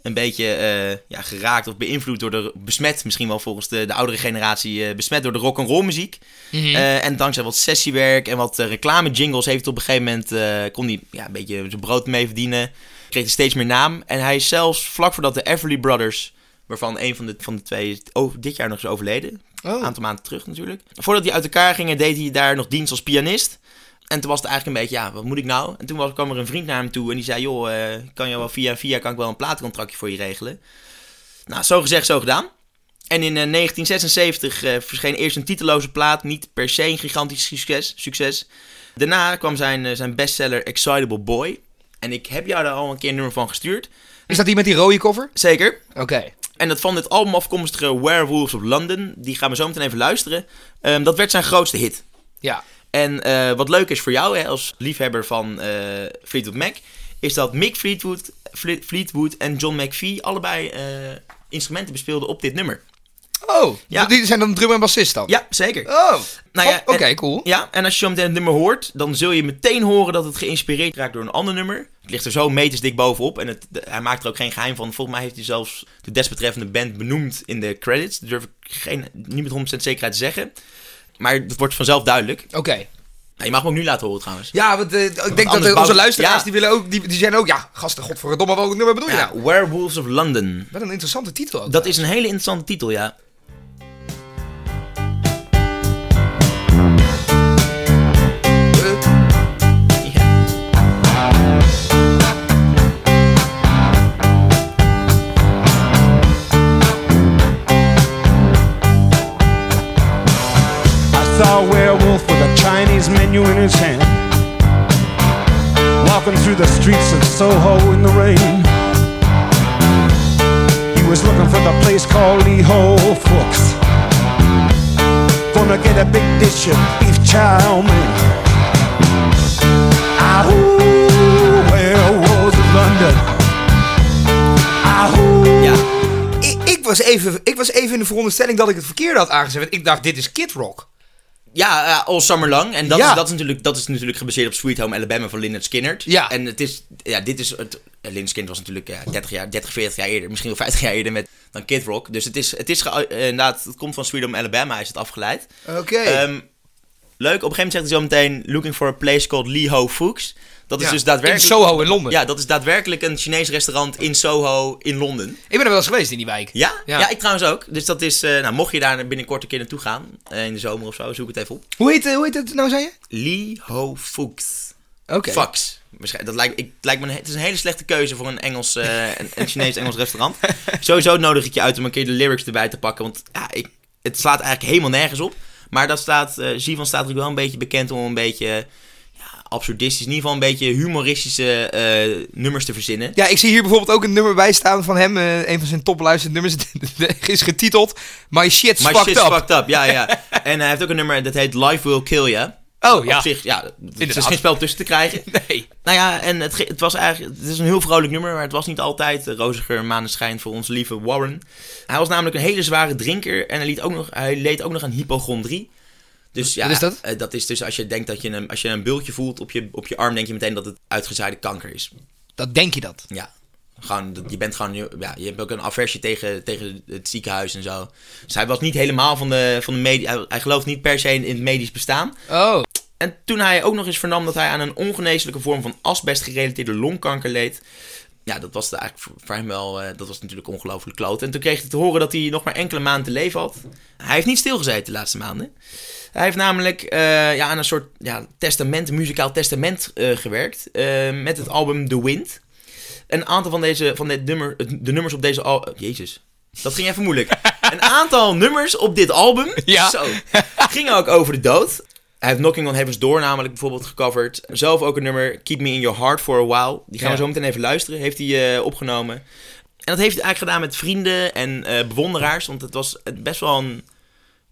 S2: een beetje eh, ja, geraakt of beïnvloed door de, besmet misschien wel volgens de, de oudere generatie, eh, besmet door de rock and roll muziek. Eh, en dankzij wat sessiewerk en wat eh, reclame jingles heeft hij op een gegeven moment, eh, kon hij ja, een beetje zijn brood mee verdienen. Kreeg hij steeds meer naam. En hij is zelfs vlak voordat de Everly Brothers, waarvan een van de, van de twee is over- dit jaar nog is overleden, een aantal maanden terug natuurlijk. Voordat die uit elkaar gingen, deed hij daar nog dienst als pianist. En toen was het eigenlijk een beetje, ja, wat moet ik nou? En toen was, kwam er een vriend naar hem toe en die zei, joh, eh, kan je wel via via, kan ik wel een platencontractje voor je regelen? Nou, zo gezegd, zo gedaan. En in eh, 1976 eh, verscheen eerst een titeloze plaat, niet per se een gigantisch succes. succes. Daarna kwam zijn, eh, zijn bestseller Excitable Boy. En ik heb jou daar al een keer een nummer van gestuurd.
S1: Is dat die met die rode cover?
S2: Zeker.
S1: Oké.
S2: En dat van dit album afkomstige Werewolves of London, die gaan we zo meteen even luisteren. Ehm, dat werd zijn grootste hit.
S1: Ja.
S2: En eh, wat leuk is voor jou hè, als liefhebber van eh, Fleetwood Mac, is dat Mick Fleetwood, Fle- Fleetwood en John McVie allebei eh, instrumenten bespeelden op dit nummer.
S1: Oh,
S2: Ja.
S1: die zijn dan drummer en bassist dan?
S2: Ja, zeker.
S1: Oh,
S2: Nou ja,
S1: Oh, oké,
S2: en-
S1: cool.
S2: Ja, en als je zo meteen het nummer hoort, dan zul je meteen horen dat het geïnspireerd raakt door een ander nummer. Het ligt er zo meters dik bovenop en het, de- hij maakt er ook geen geheim van. Volgens mij heeft hij zelfs de desbetreffende band benoemd in de credits. Dat durf ik geen, niet met 100% zekerheid te zeggen. Maar dat wordt vanzelf duidelijk.
S1: Oké.
S2: Nou, je mag hem ook nu laten horen trouwens.
S1: Ja, want eh, ik denk dat
S2: anders
S1: eh, onze
S2: bouwt-
S1: luisteraars,
S2: ja.
S1: die, willen ook, die, die zijn ook, ja, gasten, godverdomme, welk nummer bedoel je nou?
S2: Werewolves of London.
S1: Wat een interessante titel ook.
S2: Dat is een hele interessante titel, ja.
S1: Eh,
S2: Ja.
S9: I saw a werewolf with a Chinese menu in his hand. Walking through the streets of Soho in the rain. He was looking for the place called Lee Ho Fooks. Gonna get a big dish of beef chow mein. Ah, ooh, werewolves of London. Ah, ooh.
S2: Ja.
S1: ik, ik, was even, ik was even in de veronderstelling dat ik het verkeerde had aangezet. want ik dacht, dit is Kid Rock.
S2: Ja, eh, All Summer Long. En dat,
S1: Ja.
S2: is, dat, is natuurlijk, dat is natuurlijk gebaseerd op Sweet Home Alabama van Lynyrd Skynyrd.
S1: Ja.
S2: En het is, ja, dit is, het, eh, Lynyrd Skynyrd was natuurlijk ja, 30, jaar, 30, 40 jaar eerder, misschien wel 50 jaar eerder met, dan Kid Rock. Dus het is, het is ge- eh, inderdaad, het komt van Sweet Home Alabama, is het afgeleid.
S1: Oké.
S2: Ehm, leuk, op een gegeven moment zegt hij zo meteen, looking for a place called Lee Ho Fooks. Dat is
S1: Ja,
S2: dus daadwerkelijk...
S1: in Soho in Londen.
S2: Ja, dat is daadwerkelijk een Chinees restaurant in Soho in Londen.
S1: Ik ben er wel eens geweest in die wijk.
S2: Ja?
S1: Ja.
S2: Ja, ik trouwens ook. Dus dat is, eh, nou, mocht je daar binnenkort een keer naartoe gaan, eh, in de zomer of zo, zoek het even op.
S1: Hoe heet, eh, hoe heet het nou, zei je?
S2: Lee Ho Fooks.
S1: Oké.
S2: Fax. Waarschijn- Dat lijkt, ik, het lijkt me een, het is een hele slechte keuze voor een, Engels, eh, een, een Chinees-Engels restaurant. Sowieso nodig ik je uit om een keer de lyrics erbij te pakken. Want ja, ik, het slaat eigenlijk helemaal nergens op. Maar dat staat, eh Sivan staat natuurlijk wel een beetje bekend om een beetje ja, absurdistisch, in ieder geval een beetje humoristische eh, nummers te verzinnen.
S1: Ja, ik zie hier bijvoorbeeld ook een nummer bij staan van hem. eh, een van zijn topluisterde nummers is getiteld My Shit's
S2: My
S1: Fucked
S2: shit's
S1: Up.
S2: fucked up, ja, ja. en hij heeft ook een nummer dat heet Life Will Kill You.
S1: Oh, ja.
S2: Op zich, ja, er
S1: Inderdaad.
S2: is geen spel tussen te krijgen.
S1: Nee.
S2: Nou ja, en het, ge- het was eigenlijk. Het is een heel vrolijk nummer, maar het was niet altijd eh, roziger maneschijn voor onze lieve Warren. Hij was namelijk een hele zware drinker en hij, liet ook nog, hij leed ook nog aan hypochondrie. Dus ja,
S1: Wat is dat?
S2: eh, dat is dus als je denkt dat je een, als je een bultje voelt op je, op je arm, denk je meteen dat het uitgezaaide kanker is.
S1: Dat denk je dat.
S2: Ja. Gewoon, je bent gewoon, ja, je hebt ook een aversie tegen, tegen het ziekenhuis en zo. Dus hij was niet helemaal van de, van de medie, hij, hij gelooft niet per se in, in het medisch bestaan.
S1: Oh.
S2: En toen hij ook nog eens vernam dat hij aan een ongeneeslijke vorm van asbest-gerelateerde longkanker leed. Ja, dat was de- eigenlijk voor- voor hem wel, eh, dat was natuurlijk ongelooflijk kloot. En toen kreeg hij te horen dat hij nog maar enkele maanden te leven had. Hij heeft niet stilgezeten de laatste maanden. Hij heeft namelijk eh, ja, aan een soort ja, testament, een muzikaal testament eh, gewerkt. eh, met het album The Wind. Een aantal van, deze, van dit nummer, de nummers op deze al Jezus, dat ging even moeilijk. een aantal nummers op dit album.
S1: Ja.
S2: Zo. Gingen ook over de dood. Hij heeft Knocking on Heaven's Door namelijk bijvoorbeeld gecoverd. Zelf ook een nummer, Keep Me In Your Heart For A While. Die gaan
S1: Ja.
S2: we zo meteen even luisteren. Heeft hij eh, opgenomen. En dat heeft hij eigenlijk gedaan met vrienden en eh, bewonderaars. Want het was eh, best wel een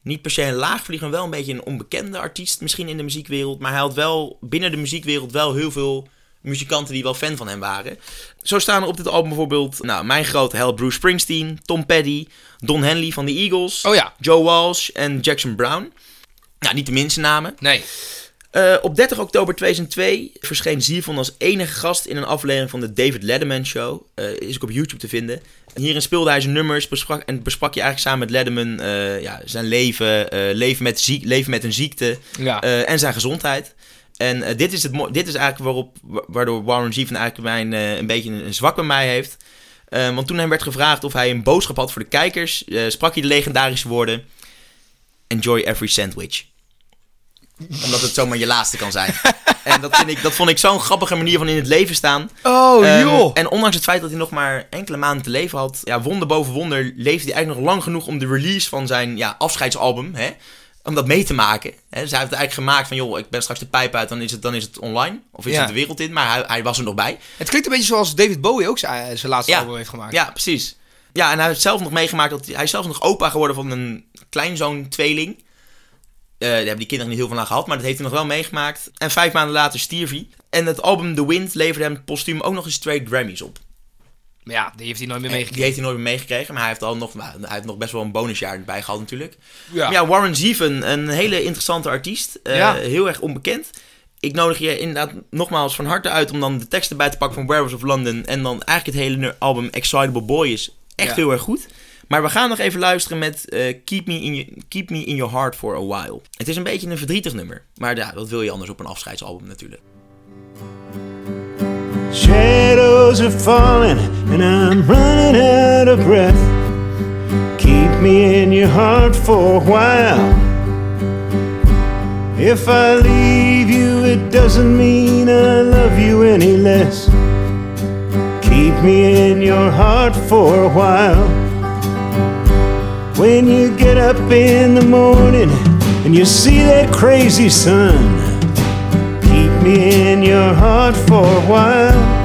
S2: niet per se een laagvlieger, maar wel een beetje een onbekende artiest misschien in de muziekwereld. Maar hij had wel binnen de muziekwereld wel heel veel muzikanten die wel fan van hem waren. Zo staan er op dit album bijvoorbeeld nou, mijn grote held Bruce Springsteen, Tom Petty, Don Henley van de Eagles,
S1: Oh ja.
S2: Joe Walsh en Jackson Brown. Nou, niet de minste namen.
S1: Nee.
S2: Eh, op 30 oktober 2002 verscheen Ziervon als enige gast in een aflevering van de David Letterman Show. Eh, is ook op YouTube te vinden. En hierin speelde hij zijn nummers besprak, en besprak je eigenlijk samen met Letterman eh, ja, zijn leven, eh, leven, met ziek, leven met een ziekte
S1: Ja.
S2: eh, en zijn gezondheid. En eh, dit, is het mo- dit is eigenlijk waarop, wa- waardoor Warren Zevon eigenlijk mijn, eh, een beetje een, een zwak bij mij heeft. Eh, want toen hem werd gevraagd of hij een boodschap had voor de kijkers, eh, sprak hij de legendarische woorden: Enjoy every sandwich. Omdat het zomaar je laatste kan zijn. en dat, vind ik, dat vond ik zo'n grappige manier van in het leven staan.
S1: Oh,
S2: Ehm,
S1: joh.
S2: En ondanks het feit dat hij nog maar enkele maanden te leven had, ja, wonder boven wonder, leefde hij eigenlijk nog lang genoeg om de release van zijn ja, afscheidsalbum, hè, om dat mee te maken. Hè. Dus hij heeft het eigenlijk gemaakt van, joh, ik ben straks de pijp uit, dan is het, dan is het online. Of is
S1: Ja.
S2: het de wereld in, maar hij, hij was er nog bij.
S1: Het klinkt een beetje zoals David Bowie ook eh, zijn, zijn laatste album heeft gemaakt.
S2: Ja, precies. Ja, en hij heeft zelf nog meegemaakt dat hij, hij is zelf nog opa geworden van een kleinzoon tweeling. Eh, daar hebben die kinderen niet heel veel aan gehad, maar dat heeft hij nog wel meegemaakt. En vijf maanden later stierf hij. En het album The Wind leverde hem postuum ook nog eens twee Grammys op.
S1: Maar ja, die heeft hij nooit meer
S2: En Die
S1: meegekregen.
S2: heeft hij nooit meer meegekregen, maar hij heeft, al nog, nou, hij heeft nog best wel een bonusjaar erbij gehad natuurlijk.
S1: Ja.
S2: Maar ja, Warren Zevon, een hele interessante artiest. eh,
S1: Ja.
S2: Heel erg onbekend. Ik nodig je inderdaad nogmaals van harte uit om dan de teksten bij te pakken van Werewolves of London. En dan eigenlijk het hele nu- album Excitable Boy is echt
S1: Ja.
S2: heel erg goed. Maar we gaan nog even luisteren met eh, Keep, Me in Your- Keep Me In Your Heart For A While. Het is een beetje een verdrietig nummer. Maar ja, dat wil je anders op een afscheidsalbum natuurlijk.
S5: Shadows are falling and I'm running out of breath. Keep me in your heart for a while. If I leave you, it doesn't mean I love you any less. Keep me in your heart for a while. When you get up in the morning and you see that crazy sun, keep me in your heart for a while.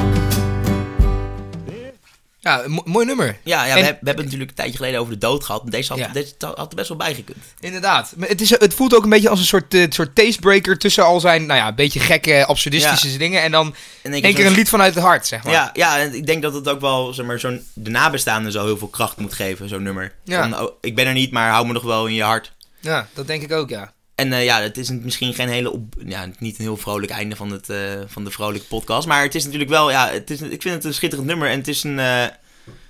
S1: Ja, een mo- mooi nummer.
S2: Ja, ja
S1: En-
S2: we, heb- we hebben natuurlijk een tijdje geleden over de dood gehad. Deze had,
S1: Ja.
S2: deze had er best wel bij gekund.
S1: Inderdaad. Maar het, is, het voelt ook een beetje als een soort, eh, soort tastebreaker tussen al zijn, nou ja, een beetje gekke, absurdistische dingen. En dan
S2: En
S1: één keer een lied vanuit het hart, zeg maar.
S2: Ja, ja, en ik denk dat het ook wel, zeg maar, zo'n, de nabestaanden zo heel veel kracht moet geven, zo'n nummer.
S1: Ja.
S2: Van, oh, ik ben er niet, maar hou me nog wel in je hart.
S1: Ja, dat denk ik ook, ja.
S2: En eh, ja, het is een- misschien geen hele, op, ja, niet een heel vrolijk einde van, het, eh, van de vrolijke podcast. Maar het is natuurlijk wel, ja, het is, ik vind het een schitterend nummer. En het is een eh,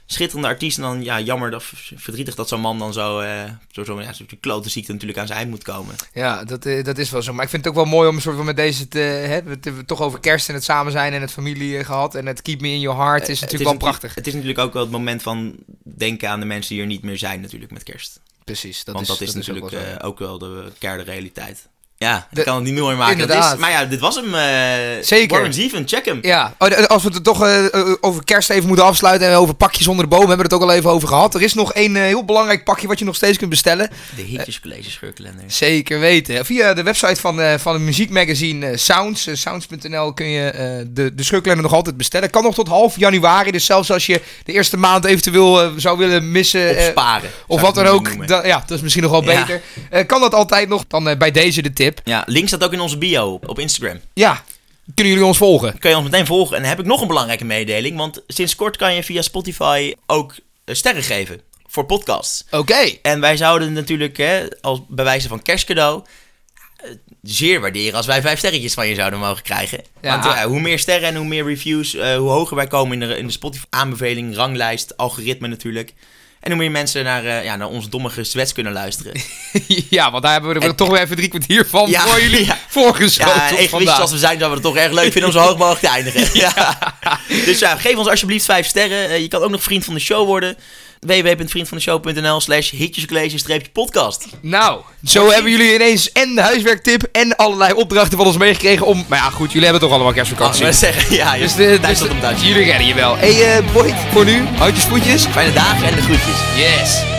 S2: schitterende artiest. En dan, ja, jammer, dat, verdrietig dat zo'n man dan zo, eh door zo'n ja, zo'n klote ziekte natuurlijk aan zijn eind moet komen.
S1: Ja, dat, eh, dat is wel zo. Maar ik vind het ook wel mooi om een soort van met deze te hè, we hebben het toch over kerst en het samen zijn en het familie eh, gehad. En Eh, het keep me in your heart is
S2: Het
S1: natuurlijk wel
S2: natuurlijk-
S1: prachtig.
S2: Het is natuurlijk ook wel het moment van denken aan de mensen die er niet meer zijn natuurlijk met kerst.
S1: Precies. Dat
S2: Want
S1: is,
S2: dat is, natuurlijk
S1: ook wel zo.
S2: eh, ook, wel de keiharde realiteit. Ja,
S1: De-
S2: ik kan het niet meer maken. Dat is,
S1: Inderdaad.
S2: maar ja, dit was hem. eh,
S1: Zeker.
S2: Warren Zevon, check hem.
S1: Ja, oh, de- als we het toch eh, eh, over kerst even moeten afsluiten en over pakjes onder de boom, hebben we het ook al even over gehad. Er is nog één eh, heel belangrijk pakje wat je nog steeds kunt bestellen.
S2: De Hitjes College Scheurkalender.
S1: Zeker weten. Via de website van, eh, van het muziekmagazine eh, Sounds, eh, sounds.nl, kun je eh, de, de schurkkalender nog altijd bestellen. Kan nog tot half januari, dus zelfs als je de eerste maand eventueel eh, zou willen missen... eh,
S2: Opsparen.
S1: of
S2: zou
S1: wat
S2: ik
S1: dan
S2: het noemen.
S1: ook. dan- ja, dat is misschien nog wel
S2: Ja.
S1: beter. Eh, kan dat altijd nog? Dan eh, bij deze de tip.
S2: Ja, link staat ook in onze bio op, op Instagram.
S1: Ja, kunnen jullie ons volgen?
S2: Kun je ons meteen volgen. En dan heb ik nog een belangrijke mededeling. Want sinds kort kan je via Spotify ook eh, sterren geven voor podcasts.
S1: Oké.
S2: En wij zouden natuurlijk, hè, als bij wijze van kerstcadeau, eh, zeer waarderen als wij vijf sterretjes van je zouden mogen krijgen.
S1: Ja.
S2: Want eh, hoe meer sterren en hoe meer reviews, eh, hoe hoger wij komen in de, in de Spotify-aanbeveling, ranglijst, algoritme natuurlijk. En hoe meer mensen naar, eh, ja, naar ons domme gezwets kunnen luisteren.
S1: ja, want daar hebben we er
S2: En-
S1: toch weer even drie kwartier van
S2: Ja,
S1: voor jullie
S2: ja.
S1: voorgeschoten
S2: Ja,
S1: op
S2: egoïstisch
S1: vandaag.
S2: als we zijn, zouden we het toch erg leuk vinden om zo hoog mogelijk te eindigen. Ja. Dus ja, geef ons alsjeblieft vijf sterren. Eh, je kan ook nog vriend van de show worden. www.vriendvandeshow.nl slash hitjescollege-podcast.
S1: Nou, zo hebben jullie ineens en de huiswerktip en allerlei opdrachten van ons meegekregen om... Maar ja, goed, jullie hebben toch allemaal
S2: Mag
S1: kerstvakantie.
S2: ik Oh, maar zeggen. Ja, je
S1: dus
S2: dus,
S1: de,
S2: thuis
S1: dus
S2: tot op thuis.
S1: jullie redden je wel. hey, eh Boyd, voor nu, houtjes voetjes.
S2: Fijne dagen en de groetjes.
S1: Yes.